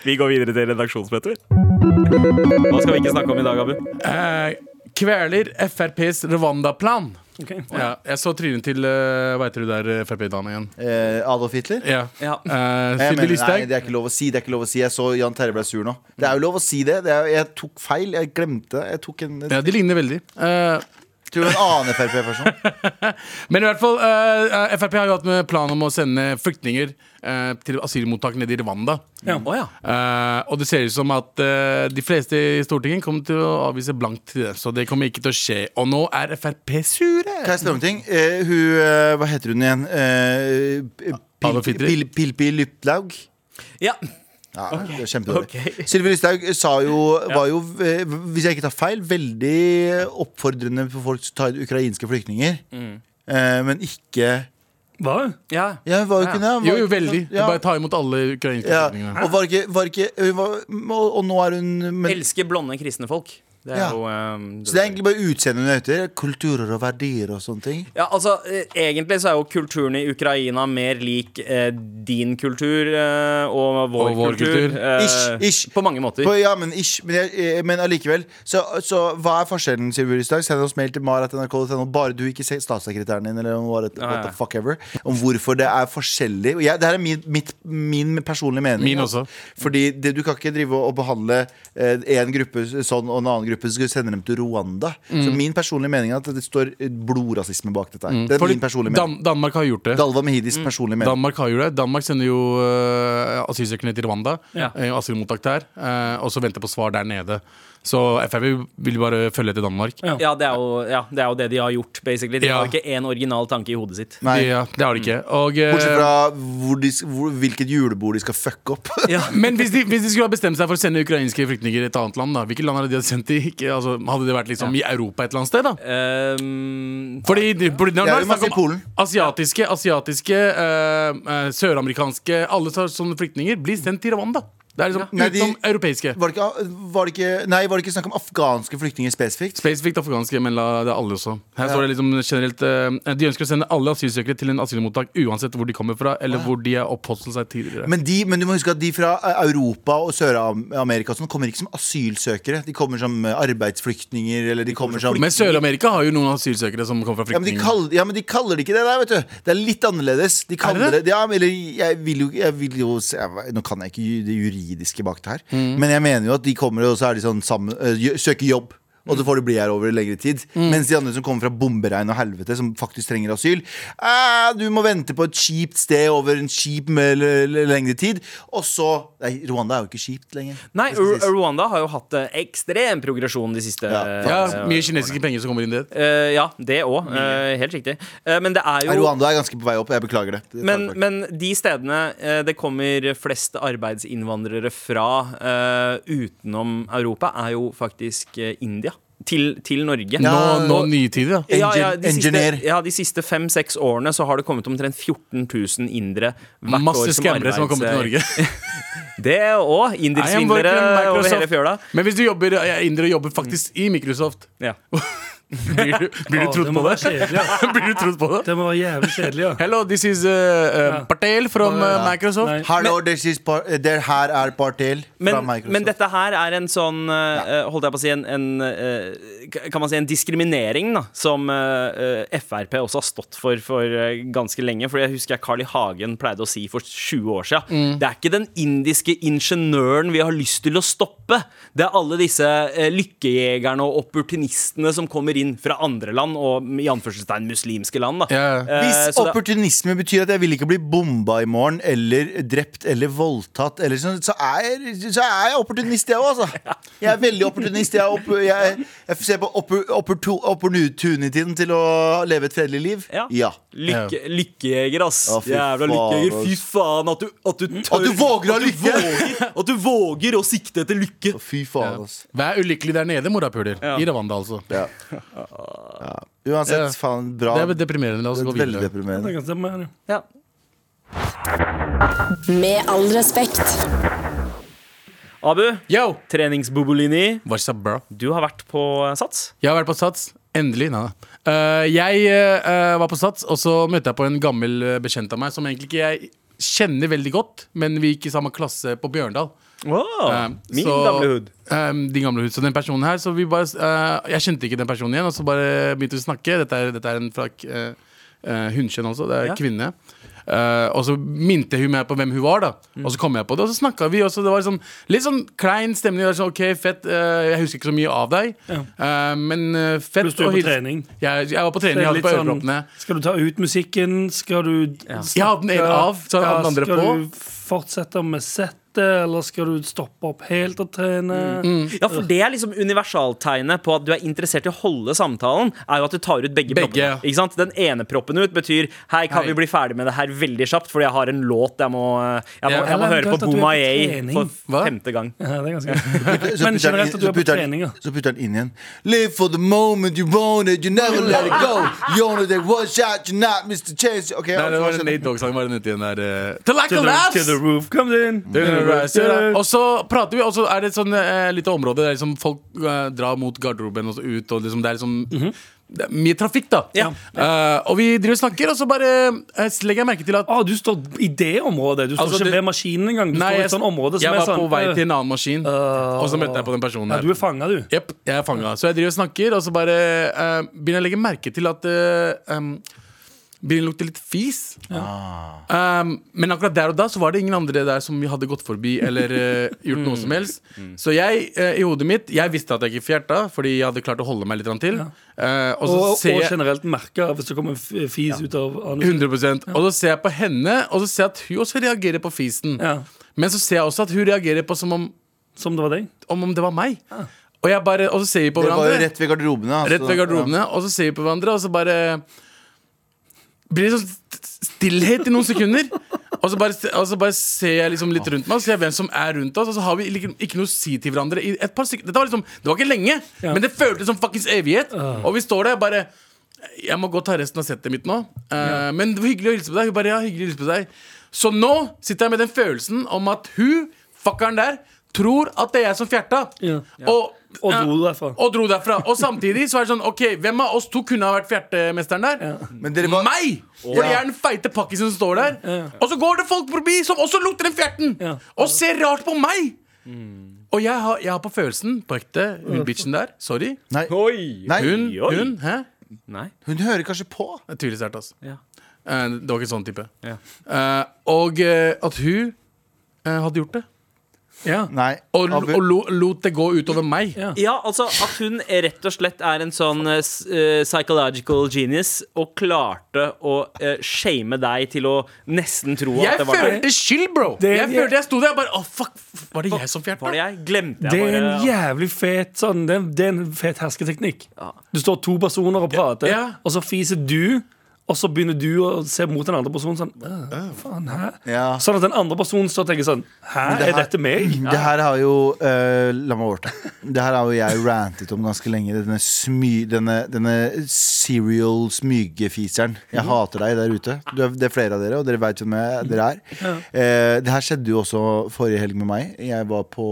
[SPEAKER 2] Vi går videre til redaksjonsmøter. Hva skal vi ikke snakke om i dag, Abu?
[SPEAKER 5] Eh, kveler FrPs Rwanda-plan.
[SPEAKER 4] Ok.
[SPEAKER 5] Ja, jeg så trynet til eh, Hva heter du der, Frp-dama igjen?
[SPEAKER 3] Eh, Adolf Hitler?
[SPEAKER 5] Ja.
[SPEAKER 2] Ja.
[SPEAKER 5] Eh,
[SPEAKER 3] Jeg
[SPEAKER 5] Sylvi
[SPEAKER 3] mener, nei,
[SPEAKER 5] Listhaug.
[SPEAKER 3] det er ikke lov å si. det er ikke lov å si Jeg så Jan Terje ble sur nå. Det er jo lov å si det. det er, jeg tok feil. Jeg glemte. Jeg tok en
[SPEAKER 5] Ja, de ligner veldig. Eh,
[SPEAKER 3] Tror du en annen Frp-person?
[SPEAKER 5] men i hvert fall, eh, Frp har jo hatt med plan om å sende flyktninger eh, til asylmottak nede i Rwanda.
[SPEAKER 4] Ja.
[SPEAKER 2] Å, ja.
[SPEAKER 5] Eh, og det ser ut som at eh, de fleste i Stortinget kommer til å avvise blankt til det. Så det kommer ikke til å skje. Og nå er Frp sure!
[SPEAKER 3] Kan jeg spørre om en ting? Eh, hun, eh, hva heter hun igjen? Eh,
[SPEAKER 5] Adolf
[SPEAKER 3] Pil-
[SPEAKER 5] Hitler.
[SPEAKER 3] Pil- Pilpi Lyplaug?
[SPEAKER 2] ja.
[SPEAKER 3] Ja, det er Kjempedårlig.
[SPEAKER 2] Ok.
[SPEAKER 3] Sylvi Lysthaug sa jo, var jo, eh, hvis jeg ikke tar feil, veldig oppfordrende på folk som tar ukrainske flyktninger. Eh, men ikke
[SPEAKER 4] Hva?
[SPEAKER 2] ja.
[SPEAKER 3] Ja, hun var jo ikke det. hun var-
[SPEAKER 5] Jo, jo, veldig.
[SPEAKER 3] Ja.
[SPEAKER 5] Bare ta imot alle ukrainske
[SPEAKER 3] Ja,
[SPEAKER 5] flyktningene.
[SPEAKER 3] og, var ikke, var ikke, hun var, og, og nå er hun men,
[SPEAKER 2] Elsker blonde kristne folk. Det er
[SPEAKER 3] Ja.
[SPEAKER 2] jo ehm,
[SPEAKER 3] Så det er egentlig bare utseendet hun er ute i. Kulturer og verdier og sånne ting.
[SPEAKER 2] Ja, altså, eh, Egentlig så er jo kulturen i Ukraina mer lik eh, din kultur eh, og vår,
[SPEAKER 5] Og vår
[SPEAKER 2] kultur.
[SPEAKER 5] kultur.
[SPEAKER 2] eh,
[SPEAKER 3] Ish, ish.
[SPEAKER 2] På mange måter.
[SPEAKER 3] På, ja, men ish. Men, jeg, eh, men allikevel. Så, så hva er forskjellen, sier Burisdag? Send oss mail til marat.nrk.no, bare du ikke ser statssekretæren din, eller om what,
[SPEAKER 2] ja, ja.
[SPEAKER 3] what the fuck ever, om hvorfor det er forskjellig. Og jeg, det her er min, mitt, min personlige mening.
[SPEAKER 5] Min også.
[SPEAKER 3] Fordi det, du kan ikke drive og behandle én gruppe sånn og en annen gruppe så skal du sende dem til Rwanda. Så
[SPEAKER 5] Mm.
[SPEAKER 3] min personlige mening er at det står eh, blodrasisme bak dette her. Det er
[SPEAKER 5] Fordi Mm.
[SPEAKER 3] min personlige mening.
[SPEAKER 5] Dan Danmark har gjort det.
[SPEAKER 3] Dalva Mehidis personlige mening.
[SPEAKER 5] Danmark har jo det. Danmark sender jo uh, asylsøkerne til Rwanda.
[SPEAKER 4] Ja.
[SPEAKER 5] eh, Asylmottak der. eh, og så venter på svar der nede. Så Frp vil bare følge etter Danmark.
[SPEAKER 4] Ja.
[SPEAKER 2] Ja, det er jo, ja, det er jo det de har gjort, basically. De
[SPEAKER 5] Ja.
[SPEAKER 2] har ikke én original tanke i hodet sitt.
[SPEAKER 3] Nei.
[SPEAKER 5] Ja, det har de ikke. Og, eh,
[SPEAKER 3] Bortsett fra hvor de, hvor, hvilket julebord de skal fucke opp.
[SPEAKER 5] Men hvis de, hvis de skulle ha bestemt seg for å sende ukrainske flyktninger til et annet land, da, hvilket land hadde de hadde sendt de? Ikke, altså, hadde det vært liksom i Europa et eller annet sted? da?
[SPEAKER 2] Ehm,
[SPEAKER 5] Fordi de, fordi det er
[SPEAKER 3] Jeg
[SPEAKER 5] bare
[SPEAKER 3] vil bare si
[SPEAKER 5] snakk om
[SPEAKER 3] Polen.
[SPEAKER 5] asiatiske, asiatiske eh, eh, søramerikanske Alle så- sånne flyktninger blir sendt til Rwanda. Det er liksom
[SPEAKER 3] Nei, de-
[SPEAKER 5] utenom europeiske.
[SPEAKER 3] Var det, ikke, var, det ikke, nei, var det ikke snakk om afghanske flyktninger spesifikt?
[SPEAKER 5] Spesifikt afghanske, men la det er alle også. Her står det liksom generelt eh, De ønsker å sende alle asylsøkere til en asylmottak uansett hvor de kommer fra, eller hvor de har oppholdt seg tidligere.
[SPEAKER 3] Men, de, men du må huske at de fra eh, Europa og Sør-Amerika og sånn kommer ikke som asylsøkere. De kommer som eh, arbeidsflyktninger eller de kommer som
[SPEAKER 5] Men, Sør-Amerika har jo noen asylsøkere som kommer fra
[SPEAKER 3] ja men, de
[SPEAKER 5] flyktninger.
[SPEAKER 3] kaller, ja, men de kaller det ikke det der, vet du. Det er litt annerledes. De kaller
[SPEAKER 5] det
[SPEAKER 3] det, ja, men Eller jeg vil jo, jeg vil jo se- jeg, Nå kan jeg ikke ju- det juridiske bak det her,
[SPEAKER 2] Mm.
[SPEAKER 3] men jeg mener jo at de kommer, og så er de sånn sammen, øh, jø- søker jobb. Og så får de bli her over lengre tid.
[SPEAKER 2] Mm.
[SPEAKER 3] Mens de andre som kommer fra bomberegn og helvete, som faktisk trenger asyl eh, Du må vente på et kjipt sted over en kjip med l- l- lengre tid. Og så Nei, Rwanda er jo ikke kjipt lenger.
[SPEAKER 2] nei,
[SPEAKER 3] Det skal
[SPEAKER 2] Ru-
[SPEAKER 3] sies.
[SPEAKER 2] Rwanda har jo hatt eh, ekstrem progresjon de siste
[SPEAKER 3] Ja,
[SPEAKER 2] eh,
[SPEAKER 5] Ja, Mye kinesiske penger som kommer inn dit.
[SPEAKER 2] eh, ja, det òg. helt riktig. Eh, men det er jo
[SPEAKER 3] Rwanda er ganske på vei opp. Jeg beklager det. det. tar jeg
[SPEAKER 2] men,
[SPEAKER 3] tilbake.
[SPEAKER 2] men de stedene eh, det kommer flest arbeidsinnvandrere fra eh, utenom Europa, er jo faktisk eh, India. Til, til Norge.
[SPEAKER 5] Nå,
[SPEAKER 3] Ja,
[SPEAKER 5] nå
[SPEAKER 2] og-
[SPEAKER 5] nye tider, da.
[SPEAKER 2] Ja, ja, de siste,
[SPEAKER 3] Engineer.
[SPEAKER 2] ja, de siste fem-seks årene så har det kommet omtrent 14 000 indere hvert år
[SPEAKER 5] Masse
[SPEAKER 2] som
[SPEAKER 5] skammere som har kommet til
[SPEAKER 2] arbeids-
[SPEAKER 5] Norge.
[SPEAKER 2] Det òg.
[SPEAKER 5] I am working
[SPEAKER 2] Indersvindlere
[SPEAKER 5] in
[SPEAKER 2] over hele
[SPEAKER 5] Microsoft.
[SPEAKER 2] fjøla.
[SPEAKER 5] Men hvis du jobber, jeg er indre og jobber faktisk i Microsoft,
[SPEAKER 2] Ja.
[SPEAKER 5] blir du, blir du
[SPEAKER 4] Å,
[SPEAKER 5] trodd
[SPEAKER 4] det
[SPEAKER 5] på
[SPEAKER 4] må
[SPEAKER 5] det?
[SPEAKER 4] være kjedelig, ja.
[SPEAKER 5] blir du trodd på det?
[SPEAKER 4] Det må være jævlig kjedelig, ja.
[SPEAKER 5] Hello, this is uh, uh,
[SPEAKER 4] Ja.
[SPEAKER 5] Patel from uh, Microsoft.
[SPEAKER 4] Nei.
[SPEAKER 3] Hallo, this is par, der her er Partel fra
[SPEAKER 2] Men,
[SPEAKER 3] Microsoft.
[SPEAKER 2] men dette her er en sånn eh, Holdt jeg på å si en, en eh, k- Kan man si en diskriminering, da, som eh, eh, Frp også har stått for for eh, ganske lenge. For jeg husker jeg Carl I. Hagen pleide å si for 20 år siden.
[SPEAKER 5] Mm.
[SPEAKER 2] Det er ikke den indiske ingeniøren vi har lyst til å stoppe. Det er alle disse eh, lykkejegerne og opportunistene som kommer inn fra andre land, og i anførselstegn muslimske land, da.
[SPEAKER 5] Ja, ja.
[SPEAKER 2] Eh,
[SPEAKER 3] Hvis
[SPEAKER 2] så det-
[SPEAKER 3] opportunisme betyr at jeg vil ikke bli bomba i morgen, eller drept eller voldtatt, eller sånn, så, er, så er jeg opportunist, jeg òg, altså. Jeg er veldig opportunist. Jeg, er opp, jeg, jeg ser på oppor- opportu- opportunityen til å leve et fredelig liv.
[SPEAKER 2] Ja.
[SPEAKER 3] Ja.
[SPEAKER 2] Lykke, lykkejeger, ass.
[SPEAKER 3] Å, fy
[SPEAKER 2] Jævla
[SPEAKER 3] faen,
[SPEAKER 2] lykkejeger. Fy
[SPEAKER 3] ass.
[SPEAKER 2] faen, at du, at du tør
[SPEAKER 3] At du våger å ha
[SPEAKER 2] at du
[SPEAKER 3] lykke.
[SPEAKER 2] våger- At du våger å sikte etter lykke.
[SPEAKER 3] Fy faen, altså.
[SPEAKER 5] Vær ulykkelig der nede, morapuler. I Rwanda, altså.
[SPEAKER 3] Ja. Ja. Uansett,
[SPEAKER 5] Ja.
[SPEAKER 3] faen, bra.
[SPEAKER 5] Det er deprimerende. La oss gå
[SPEAKER 3] Veldig
[SPEAKER 5] videre.
[SPEAKER 4] Det
[SPEAKER 3] deprimerende.
[SPEAKER 4] kan stemme, ja.
[SPEAKER 2] Ja.
[SPEAKER 6] Med all respekt.
[SPEAKER 2] Abu,
[SPEAKER 5] Yo!
[SPEAKER 2] treningsbobolini.
[SPEAKER 5] What's up, bro?
[SPEAKER 2] Du har vært på eh, Sats.
[SPEAKER 5] Jeg har vært på Sats. Endelig. Nei, da. Eh, jeg eh, var på Sats, og så møtte jeg på en gammel eh, bekjent av meg som egentlig ikke jeg kjenner veldig godt, men vi gikk i samme klasse på Bjørndal. Eh,
[SPEAKER 2] min
[SPEAKER 5] så-
[SPEAKER 2] gamle hood.
[SPEAKER 5] Eh, din gamle hood. Så den personen her så vi bare, eh, Jeg kjente ikke den personen igjen, og så bare begynte vi å snakke. Dette er, dette er en fra uh, hundkjønn også. Det er
[SPEAKER 2] Ja.
[SPEAKER 5] kvinne. Eh, og så minte hun meg på hvem hun var, da. Og så kom jeg på det, og så snakka vi. Og så det var liksom, litt sånn klein stemning. Det var sånn, ok, fett eh, Jeg husker ikke så mye av deg, Eh, men eh, fett
[SPEAKER 4] Pluss du er
[SPEAKER 5] og
[SPEAKER 4] på
[SPEAKER 5] hils-
[SPEAKER 4] trening.
[SPEAKER 5] Jeg, jeg var på trening.
[SPEAKER 4] Det er
[SPEAKER 5] Jeg hadde
[SPEAKER 4] litt
[SPEAKER 5] på
[SPEAKER 4] sånn,
[SPEAKER 5] øreproppene.
[SPEAKER 4] skal du ta ut musikken? Skal du
[SPEAKER 5] Jeg hadde den ene av, så hadde jeg den andre på.
[SPEAKER 4] Skal du fortsette med settet, eller skal du stoppe opp helt og trene?
[SPEAKER 5] Mm.
[SPEAKER 2] Ja, for det er liksom universaltegnet på at du er interessert i å holde samtalen, er jo at du tar ut begge,
[SPEAKER 5] Begge, ja.
[SPEAKER 2] proppene. Ikke sant? Den ene proppen ut betyr 'hei, kan vi
[SPEAKER 5] Hei.
[SPEAKER 2] bli ferdig med det her veldig kjapt, fordi jeg har en låt jeg må, jeg må,
[SPEAKER 5] Ja.
[SPEAKER 2] jeg må
[SPEAKER 4] Eller
[SPEAKER 2] høre på
[SPEAKER 4] eventuelt at du er på
[SPEAKER 2] Boomayay
[SPEAKER 4] trening.
[SPEAKER 2] for
[SPEAKER 5] Hva?
[SPEAKER 2] femte gang.
[SPEAKER 4] Ja, det er ganske greit.
[SPEAKER 3] Så
[SPEAKER 4] Men
[SPEAKER 3] putter han
[SPEAKER 4] generelt at
[SPEAKER 3] inn-
[SPEAKER 4] du er
[SPEAKER 3] så
[SPEAKER 4] på
[SPEAKER 3] putter han-
[SPEAKER 4] trening, ja.
[SPEAKER 3] Så putter han inn igjen. Live for the moment you want it, you never let it go. You only take one shot, you're not Mr. Chase. Ok,
[SPEAKER 5] Nei,
[SPEAKER 3] altså,
[SPEAKER 5] det var
[SPEAKER 3] skjønner.
[SPEAKER 5] en Nate Dogg-sang var den ute igjen der. eh, To lack
[SPEAKER 4] To the,
[SPEAKER 5] of
[SPEAKER 4] to
[SPEAKER 5] laughs!
[SPEAKER 4] the roof comes in. Eh,
[SPEAKER 5] To the rest, ja. Og så prater vi, og så er det et sånn eh, lite område der liksom folk eh, drar mot garderoben og så ut, og liksom det er liksom
[SPEAKER 4] Mhm.
[SPEAKER 5] det er mye trafikk, da.
[SPEAKER 2] Ja.
[SPEAKER 5] Eh, og vi driver og snakker, og så bare eh, legger jeg merke til at
[SPEAKER 4] Å, ah, du står i det området. Du står
[SPEAKER 5] Altså,
[SPEAKER 4] ikke
[SPEAKER 5] det-
[SPEAKER 4] ved maskinen engang. Du står i
[SPEAKER 5] jeg,
[SPEAKER 4] et sånt område som
[SPEAKER 5] jeg
[SPEAKER 4] er
[SPEAKER 5] var
[SPEAKER 4] sånn
[SPEAKER 5] på vei
[SPEAKER 4] øh,
[SPEAKER 5] til en annen maskin, og så møtte jeg på den personen
[SPEAKER 4] ja,
[SPEAKER 5] her.
[SPEAKER 4] Du er fanga, du.
[SPEAKER 5] Jepp, jeg er fanga. Så jeg driver og snakker, og så bare eh, begynner jeg å legge merke til at eh, em, Begynner å lukte litt fis. Em, men akkurat der og da så var det ingen andre der som vi hadde gått forbi eller eh, gjort noe som helst. Så jeg, eh, i hodet mitt, jeg visste at jeg ikke fjerta, fordi jeg hadde klart å holde meg litt grann til. Eh, og så
[SPEAKER 4] Og, og
[SPEAKER 5] ser jeg
[SPEAKER 4] generelt merker hvis det kommer f- fis ut av anusen.
[SPEAKER 5] 100 Og så ser jeg på henne, og så ser jeg at hun også reagerer på fisen.
[SPEAKER 4] Ja.
[SPEAKER 5] Men så ser jeg også at hun reagerer på som om,
[SPEAKER 4] Som det var deg.
[SPEAKER 5] om, om det var meg. Og, jeg bare, og så ser vi på
[SPEAKER 3] Det var
[SPEAKER 5] hverandre.
[SPEAKER 3] jo rett ved garderobene. altså.
[SPEAKER 5] Rett ved garderobene, og så ser vi på hverandre, og så bare Blir det sånn st- stillhet i noen sekunder. Og så, bare, og så bare ser jeg liksom litt rundt meg og ser jeg hvem som er rundt oss. Og så har vi ikke, ikke noe å si til hverandre i et par sekunder. Dette var liksom, det var ikke lenge, men det føltes som fuckings evighet. Og vi står der bare Jeg må gå og ta resten av settet mitt nå. Eh, Men det var hyggelig å hilse på deg. Hun bare, ja, hyggelig å hilse på deg Så nå sitter jeg med den følelsen om at hun, fuckeren der, tror at det er jeg som fjerta.
[SPEAKER 4] Ja.
[SPEAKER 5] Og,
[SPEAKER 4] Og
[SPEAKER 5] eh,
[SPEAKER 4] dro derfra.
[SPEAKER 5] og dro derfra. Og samtidig så er det sånn Ok, hvem av oss to kunne ha vært fjertemesteren der?
[SPEAKER 3] Men dere var-
[SPEAKER 5] Meg! Fordi jeg er den feite pakkisen som står der. Og så går det folk forbi som også lukter den fjerten!
[SPEAKER 4] Ja.
[SPEAKER 5] Og ser rart på meg! Og jeg har, jeg har på følelsen, på ekte, hun bitchen der, sorry
[SPEAKER 3] Nei,
[SPEAKER 2] Oi!
[SPEAKER 3] nei hun,
[SPEAKER 5] Hun,
[SPEAKER 2] Oi.
[SPEAKER 5] hun, hæ?
[SPEAKER 2] Nei.
[SPEAKER 3] hører kanskje på.
[SPEAKER 5] Det er tydelig sterkt, altså.
[SPEAKER 2] Ja.
[SPEAKER 5] Eh, Det var ikke en sånn type.
[SPEAKER 2] Ja.
[SPEAKER 5] Eh, og eh, at hun eh, hadde gjort det.
[SPEAKER 4] Ja.
[SPEAKER 3] Nei,
[SPEAKER 5] Og,
[SPEAKER 3] Abu.
[SPEAKER 5] og lo, lot det gå utover meg.
[SPEAKER 4] Ja.
[SPEAKER 2] Ja, altså at hun rett og slett er en sånn eh, s- eh, psychological genius og klarte å eh, shame deg til å nesten tro at
[SPEAKER 5] Jeg
[SPEAKER 2] det var deg.
[SPEAKER 5] følte skyld, bro!
[SPEAKER 4] Det-
[SPEAKER 5] jeg følte jeg sto der og bare Å, fuck! Var det jeg som fjerta?
[SPEAKER 2] Var det jeg? Glemte
[SPEAKER 4] Det
[SPEAKER 2] jeg
[SPEAKER 4] er
[SPEAKER 2] bare at-
[SPEAKER 4] en jævlig fet sånn, det, er- det er en fet hersketeknikk. Du står to personer og prater,
[SPEAKER 5] Ja.
[SPEAKER 4] og så fiser du. Og så begynner du å se mot den andre personen sånn «Øh, faen, hæ?
[SPEAKER 3] Ja.
[SPEAKER 4] Sånn at den andre personen står og tenker sånn Hæ,
[SPEAKER 3] det
[SPEAKER 4] er
[SPEAKER 3] her-
[SPEAKER 4] dette meg?
[SPEAKER 3] Det her har jo eh, La meg overta. Det her har jo jeg rantet om ganske lenge. Denne, smy, denne, denne serial smygefiseren. Jeg
[SPEAKER 4] Mhm.
[SPEAKER 3] hater deg der ute. Du er, det er flere av dere, og dere veit hvem jeg, dere er. Eh, det her skjedde jo også forrige helg med meg. Jeg var på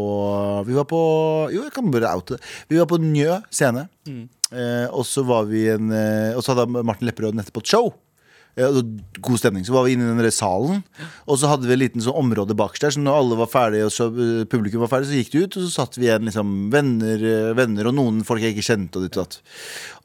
[SPEAKER 3] Vi var på Jo, jeg kan bare oute det. Vi var på Njø scene.
[SPEAKER 4] Mm.
[SPEAKER 3] Eh, og så var vi en eh, Og så hadde Martin Lepperød nettopp et show. Ja, og God stemning. Så var vi inne i den der salen, og så hadde vi en liten sånn område bakerst der. Så når alle var ferdige, og så eh, publikum var ferdig, så gikk de ut, og så satt vi igjen liksom venner, eh, venner og noen folk jeg ikke kjente. Og, ditt og, datt.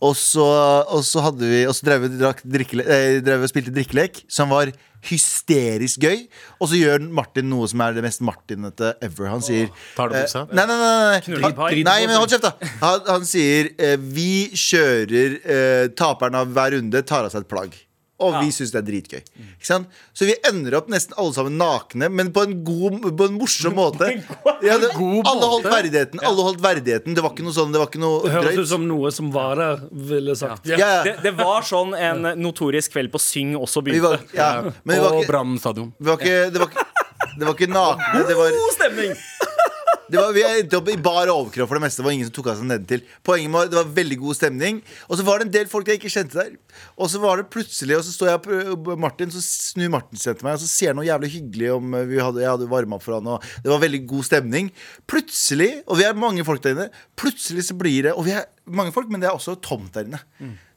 [SPEAKER 3] og, så, og så hadde vi Og så drev vi drakk drikkele- eh, drev og spilte drikkelek, som var hysterisk gøy. Og så gjør Martin noe som er det mest Martinete ever. Han sier
[SPEAKER 5] Tar du
[SPEAKER 3] eh,
[SPEAKER 5] buksa?
[SPEAKER 3] Nei, nei, nei. nei.
[SPEAKER 2] Knullepar.
[SPEAKER 3] Han, nei men hold kjeft, da. Han, han sier eh, vi kjører eh, Taperen av hver runde tar av seg et plagg. Og vi syns det er dritgøy. Ikke sant? Så vi ender opp nesten alle sammen nakne, men på en god, på en morsom måte. Ja, det,
[SPEAKER 5] god
[SPEAKER 3] alle holdt
[SPEAKER 5] måte.
[SPEAKER 3] verdigheten. Alle holdt verdigheten Det var ikke noe sånn, det var ikke noe
[SPEAKER 4] Det høres ut
[SPEAKER 3] drøyt.
[SPEAKER 4] som noe som var der, ville sagt.
[SPEAKER 3] Ja,
[SPEAKER 2] Det,
[SPEAKER 3] ja.
[SPEAKER 2] det var sånn en notorisk kveld på Syng også
[SPEAKER 3] Vi
[SPEAKER 2] begynte.
[SPEAKER 3] var, ja. Men vi var
[SPEAKER 5] Og
[SPEAKER 3] ikke,
[SPEAKER 5] Brann stadion.
[SPEAKER 3] vi var ikke, det var ikke det var ikke nakne. Det var,
[SPEAKER 2] God stemning!
[SPEAKER 3] det var, vi endte opp i bar overkropp for det meste. Det var ingen som tok av seg nedentil. Poenget var, det var veldig god stemning. Og så var det en del folk jeg ikke kjente der. Og så var det plutselig, og så står jeg på Martin, så snur Martin seg til meg, og så sier han noe jævlig hyggelig om eh, vi hadde, Jeg hadde varma opp for han, og det var veldig god stemning. Plutselig, og vi er mange folk der inne, plutselig så blir det Og vi er mange folk, men det er også tomt der inne.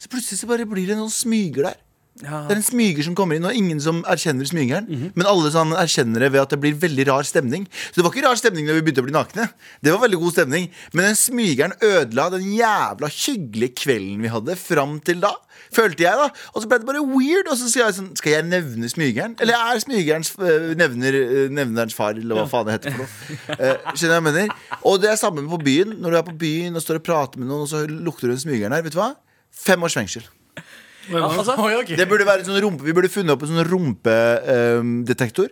[SPEAKER 3] Så plutselig så bare blir det en sånn smyger der. Det er en smyger som kommer inn, og ingen som erkjenner smygeren. Men alle sånn erkjenner det ved at det blir veldig rar stemning. Så det var ikke rar stemning når vi begynte å bli nakne. Det var veldig god stemning Men den smygeren ødela den jævla hyggelige kvelden vi hadde fram til da. Følte jeg, da. Og så ble det bare weird. Og så skal jeg sånn Skal jeg nevne smygeren? Eller er smygerens øh, nevner, øh, nevnerens far, eller hva faen det heter for noe. Eh, skjønner jeg hva jeg mener? Og det er samme på byen. Når du er på byen og står og prater med noen, og så lukter du den smygeren her, vet du hva? Fem års fengsel.
[SPEAKER 2] Altså,
[SPEAKER 5] Oi, ok.
[SPEAKER 3] Det burde være en sånn rumpe Vi burde funnet opp en sånn rumpedetektor.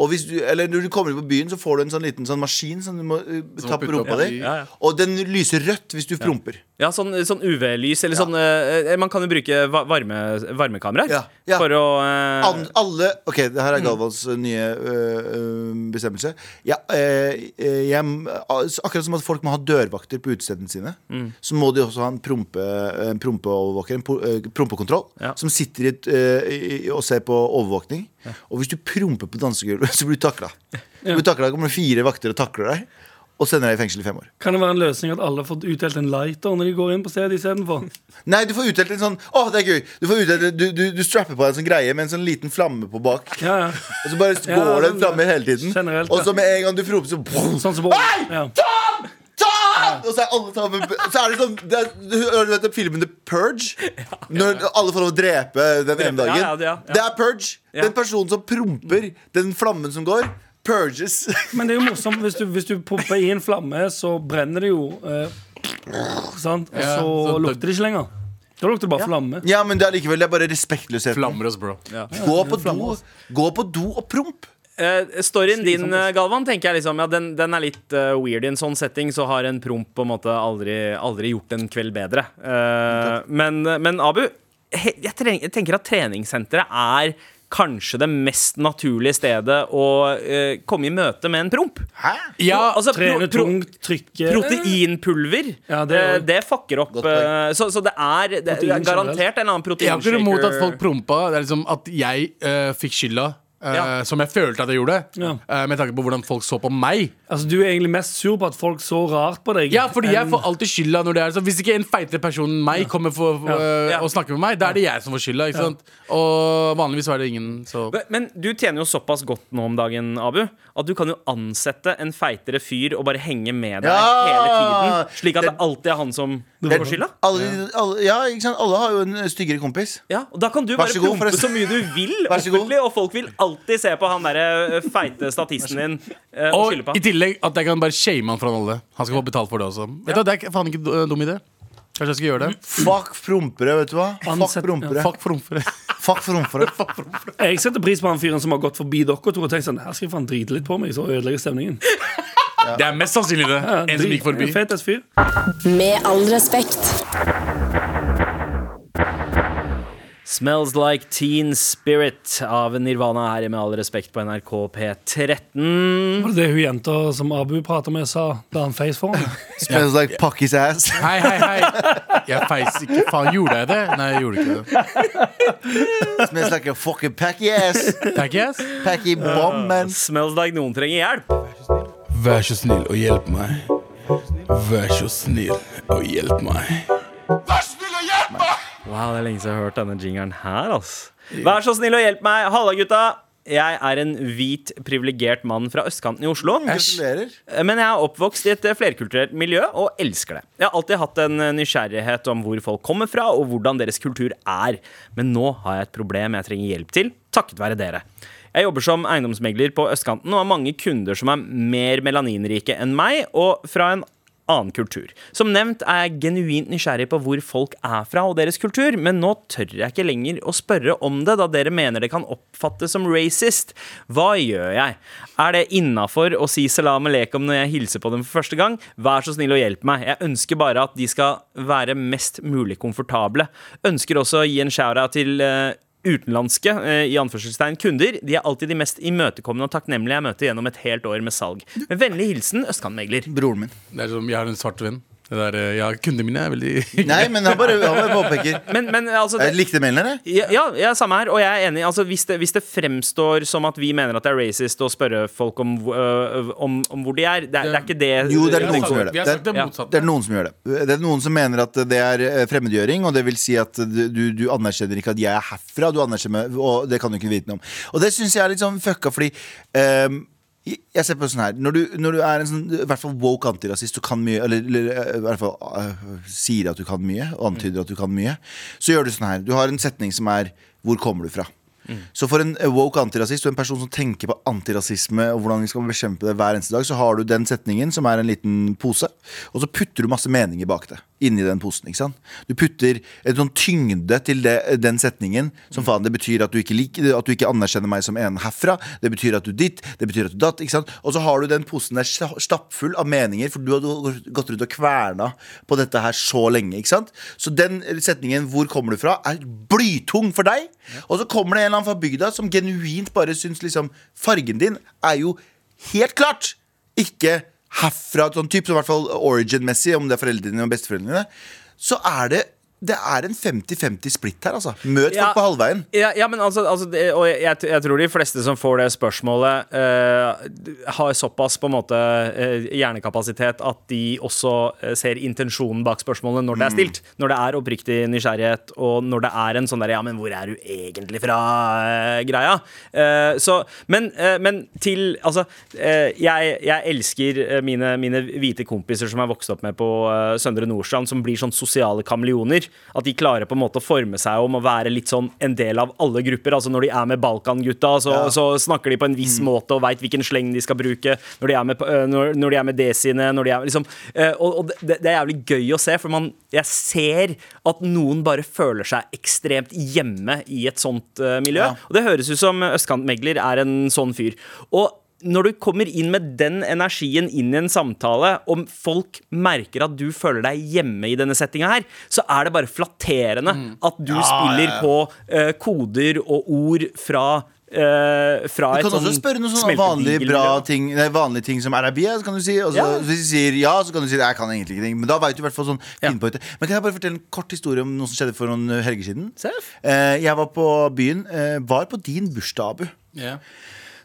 [SPEAKER 3] og hvis du, eller når du kommer ut på byen, så får du en sånn liten sånn maskin som du må eh, tappe
[SPEAKER 5] putter
[SPEAKER 3] rumpa
[SPEAKER 5] opp
[SPEAKER 3] di.
[SPEAKER 5] i-
[SPEAKER 2] Ja, ja.
[SPEAKER 3] Og den lyser rødt hvis du promper.
[SPEAKER 2] ja, sånn, sånn UV-lys eller sånn eh, Man kan jo bruke va- varme, varmekameraer
[SPEAKER 3] Ja, ja.
[SPEAKER 2] for å eh,
[SPEAKER 3] An, alle Ok, det her er Galvans eh, nye eh, eh, bestemmelse. Ja, eh, eh, jeg, akkurat som at folk må ha dørvakter på utestedene sine, så må de også ha en, prompe, en prompeovervåker, en po- eh, prompekontroll,
[SPEAKER 2] Ja.
[SPEAKER 3] som sitter i et, eh, i- i- og ser på overvåkning. Og hvis du promper på dansegulvet, så blir du takla. Du takla, kommer det fire vakter og takler deg, og sender deg i fengsel i fem år.
[SPEAKER 4] Kan det være en løsning at alle har fått utdelt en lighter når de går inn på stedet istedenfor?
[SPEAKER 3] Nei, du får utdelt en sånn Å, det er gøy! Du, får utdelt, du, du, du strapper på en sånn greie med en sånn liten flamme på bak.
[SPEAKER 4] Ja, ja.
[SPEAKER 3] Og så bare går
[SPEAKER 4] sånn,
[SPEAKER 3] den framme hele tiden.
[SPEAKER 4] generelt,
[SPEAKER 3] og
[SPEAKER 4] ja.
[SPEAKER 3] så med en gang du roper, så
[SPEAKER 4] Sånn som på ja.
[SPEAKER 3] Ta! Og så er alle sammen Så er det sånn det er, Du hører du vet den filmen The Purge? Når alle får lov å drepe den ene dagen.
[SPEAKER 2] ja, ja, ja.
[SPEAKER 3] Det er Purge.
[SPEAKER 2] Ja.
[SPEAKER 3] Den personen som promper, den flammen som går, purges.
[SPEAKER 4] Men det er jo morsomt. Hvis du, hvis du pumper i en flamme, så brenner det jo. Eh, sant? Og
[SPEAKER 5] Ja,
[SPEAKER 4] så,
[SPEAKER 5] så det-
[SPEAKER 4] lukter det ikke lenger. Da lukter det bare flamme.
[SPEAKER 3] ja, men det er likevel det er bare respektløshet.
[SPEAKER 5] Flammer oss, bro.
[SPEAKER 3] Gå på do, gå på do og promp.
[SPEAKER 2] Eh, storyen din, eh, Galvan, tenker jeg liksom Ja, den, den er litt eh, weird i en sånn setting. Så har en promp på en måte aldri, aldri gjort en kveld bedre. Eh, men, men Abu, he, jeg, treng, jeg tenker at treningssenteret er kanskje det mest naturlige stedet å eh, komme i møte med en promp.
[SPEAKER 5] Ja,
[SPEAKER 2] Altså, pro-
[SPEAKER 4] Trene
[SPEAKER 2] pro-
[SPEAKER 4] tungt, trykke
[SPEAKER 2] Proteinpulver.
[SPEAKER 4] Ja, det er jo-
[SPEAKER 2] eh, det fucker opp.
[SPEAKER 3] Godt
[SPEAKER 2] eh,
[SPEAKER 3] poeng.
[SPEAKER 2] så, så det er, det, det er
[SPEAKER 4] Protein
[SPEAKER 2] garantert en eller annen
[SPEAKER 5] Jeg har ikke noe imot at
[SPEAKER 2] proteinshaker.
[SPEAKER 5] folk prompa. Det er liksom at jeg eh, fikk skylda. eh,
[SPEAKER 2] Ja.
[SPEAKER 5] Som jeg følte at jeg gjorde,
[SPEAKER 4] Ja.
[SPEAKER 5] eh, med tanke på hvordan folk så på meg.
[SPEAKER 4] Altså, du er egentlig mest sur på at folk så rart på deg.
[SPEAKER 5] Ja, fordi jeg
[SPEAKER 4] enn-
[SPEAKER 5] får alltid skylda når det er sånn. Hvis ikke en feitere person enn meg kommer for, eh,
[SPEAKER 2] Ja.
[SPEAKER 5] og snakker med meg, da er det jeg som får skylda. Ikke sant? Og vanligvis er det ingen så
[SPEAKER 2] Men du tjener jo såpass godt nå om dagen, Abu, at du kan jo ansette en feitere fyr og bare henge med deg
[SPEAKER 3] Ja!
[SPEAKER 2] hele tiden. Slik at det
[SPEAKER 3] Det-
[SPEAKER 2] alltid er han som får skylda.
[SPEAKER 3] Alle, alle, ja, ikke sant? alle har jo en styggere kompis.
[SPEAKER 2] Ja, og da kan du
[SPEAKER 3] Vær
[SPEAKER 2] bare
[SPEAKER 3] så god,
[SPEAKER 2] prompe så
[SPEAKER 3] forresten.
[SPEAKER 2] mye du vil,
[SPEAKER 3] Vær så god.
[SPEAKER 2] offentlig, og folk vil alltid se på han derre eh, feite statisten din eh, og skylde
[SPEAKER 5] Og
[SPEAKER 2] på
[SPEAKER 5] i
[SPEAKER 2] han.
[SPEAKER 5] tillegg at jeg kan bare shame han foran alle. Han skal få betalt for det også. Vet du, hva, Det er ikke- faen ikke en dum idé. Kanskje jeg skal gjøre det?
[SPEAKER 3] Fuck prompere, vet du hva? Fuck
[SPEAKER 4] Ansett-
[SPEAKER 3] prompere.
[SPEAKER 5] Fuck frumfere.
[SPEAKER 3] Fuck prompere.
[SPEAKER 4] Jeg setter pris på han fyren som har gått forbi dere to og tenkt sånn Her skal jeg faen drite litt på meg, så ødelegger stemningen.
[SPEAKER 5] Det er mest sannsynlig det.
[SPEAKER 4] Ja,
[SPEAKER 5] En som
[SPEAKER 4] drit-
[SPEAKER 5] gikk forbi.
[SPEAKER 4] en fet ass fyr.
[SPEAKER 6] Med all respekt.
[SPEAKER 2] Smells like teen spirit av Nirvana her i Med all respekt på NRK P13.
[SPEAKER 4] Var det det hun jenta som Abu prater med, sa da han feis foran?
[SPEAKER 3] Smells like Pakis ass.
[SPEAKER 5] Hei, hei, hei. Jeg feis ikke. Faen, gjorde jeg det? Nei, jeg gjorde ikke det.
[SPEAKER 3] Smells like a fucking Packy ass.
[SPEAKER 5] Takk, yes.
[SPEAKER 3] Packy bomb, man.
[SPEAKER 2] Smells like noen trenger hjelp.
[SPEAKER 5] Vær så snill og hjelp meg. Vær så snill og hjelp meg.
[SPEAKER 2] Wow, det er lenge siden jeg har hørt denne jingeren her, ass. Vær så snill og hjelp meg. Halla, gutta. Jeg er en hvit, privilegert mann fra østkanten i Oslo.
[SPEAKER 3] Gratulerer.
[SPEAKER 2] Men jeg er oppvokst i et eh, flerkulturelt miljø og elsker det. Jeg har alltid hatt en eh, nysgjerrighet om hvor folk kommer fra, og hvordan deres kultur er. Men nå har jeg et problem jeg trenger hjelp til, takket være dere. Jeg jobber som eiendomsmegler på østkanten og har mange kunder som er mer melaninrike enn meg, og fra en annen kultur. Som nevnt er jeg genuint nysgjerrig på hvor folk er fra og deres kultur, men nå tør jeg ikke lenger å spørre om det, da dere mener det kan oppfattes som racist. Hva gjør jeg? Er det innafor å si salam aleikum når jeg hilser på dem for første gang? Vær så snill og hjelp meg. Jeg ønsker bare at de skal være mest mulig komfortable. Ønsker også å gi en shout-out til eh, Utenlandske eh, i anførselstegn kunder De er alltid de mest imøtekommende og takknemlige jeg møter gjennom et helt år med salg. Med vennlig hilsen Østkantmegler.
[SPEAKER 3] Broren min.
[SPEAKER 5] Det er som jeg har en svart venn. Det der, eh, ja, Kundene mine er veldig
[SPEAKER 3] Nei, men han bare, han bare påpeker.
[SPEAKER 2] Men, men altså
[SPEAKER 3] Jeg
[SPEAKER 2] det,
[SPEAKER 3] likte mailen her, jeg.
[SPEAKER 2] ja, ja, ja, samme her. Og jeg er enig. Altså, hvis, det, hvis det fremstår som at vi mener at det er racist å spørre folk om, hvor- øh, om, om hvor de er, det er, liksom- det er ikke det
[SPEAKER 3] Jo, det er
[SPEAKER 5] Vi
[SPEAKER 3] noen
[SPEAKER 5] har
[SPEAKER 3] som
[SPEAKER 5] sagt-
[SPEAKER 3] gjør det.
[SPEAKER 5] Vi har sagt
[SPEAKER 2] Ja.
[SPEAKER 5] det
[SPEAKER 3] Det
[SPEAKER 5] motsatte.
[SPEAKER 3] er noen som gjør det. Det er noen som mener at det er eh, fremmedgjøring, og det vil si at du, du anerkjenner ikke at jeg er herfra, du anerkjenner og det kan du ikke vite noe om. Og det syns jeg er litt sånn fucka, fordi ehm, jeg ser på det sånn her Når du, når du er en sånn, i hvert fall woke antirasist, du kan mye, eller, eller eh, i hvert fall eh, sier at du kan mye, og antyder at du kan mye, så gjør du sånn her. Du har en setning som er 'Hvor kommer du fra?' Så for en woke antirasist og en person som tenker på antirasisme og hvordan vi skal bekjempe det hver eneste dag, så har du den setningen som er en liten pose, og så putter du masse meninger bak det. Inni den posen, ikke sant. Du putter en sånn tyngde til det, eh, den setningen som faen, det betyr at du ikke liker At du ikke anerkjenner meg som en herfra. Det betyr at du ditt, det betyr at du datt. Ikke sant? Og så har du den posen der sta- stappfull av meninger, for du har gå- gått rundt og kverna på dette her så lenge. Ikke sant? Så den setningen 'Hvor kommer du fra?' er blytung for deg. Og så kommer det en eller annen fra bygda som genuint bare syns liksom Fargen din er jo helt klart ikke herfra, sånn type, så i hvert fall origin-messig, om det er foreldrene dine og besteforeldrene dine, så er det det er en 50-50 splitt her, altså. Møt folk
[SPEAKER 2] Ja.
[SPEAKER 3] på halvveien.
[SPEAKER 2] Ja, ja men altså, altså det, Og jeg, jeg- jeg tror de fleste som får det spørsmålet, eh, har såpass på en måte eh, hjernekapasitet at de også eh, ser intensjonen bak spørsmålet når det er
[SPEAKER 3] Mm.
[SPEAKER 2] stilt. Når det er oppriktig nysgjerrighet, og når det er en sånn der 'ja, men hvor er du egentlig fra?'-greia. så, men, eh, men til Altså, eh, jeg, jeg elsker eh, mine, mine hvite kompiser som er vokst opp med på eh, Søndre Nordstrand, som blir sånn sosiale kameleoner. At de klarer på en måte å forme seg om å være litt sånn en del av alle grupper. Altså Når de er med Balkan-gutta, så, så snakker de på en viss måte og veit hvilken sleng de skal bruke. Når de er med, på- eh, når, når de er med desiene, når de er liksom eh, Og, og det, det er jævlig gøy å se, for man, jeg ser at noen bare føler seg ekstremt hjemme i et sånt eh, miljø.
[SPEAKER 3] Ja.
[SPEAKER 2] Og det høres ut som østkantmegler er en sånn fyr. Og når du kommer inn med den energien inn i en samtale, om folk merker at du føler deg hjemme i denne settinga her, så er det bare flatterende at du spiller på eh, koder og ord fra eh, fra
[SPEAKER 3] Du
[SPEAKER 2] et
[SPEAKER 3] kan også
[SPEAKER 2] sånn
[SPEAKER 3] spørre noen sånne
[SPEAKER 2] smeltedigel-
[SPEAKER 3] vanlige, bra ting, nei, vanlige ting som Arabia, så kan du si. Og så,
[SPEAKER 2] Ja.
[SPEAKER 3] Hvis de sier ja, så kan du si jeg kan egentlig ikke ting. Men da vet du i hvert fall sånn finne på ut det. Men kan jeg bare fortelle en kort historie om noe som skjedde for noen helger siden?
[SPEAKER 2] Seff.
[SPEAKER 3] Eh, jeg var på byen. Eh, var på din bursdag, Abu.
[SPEAKER 5] Yeah.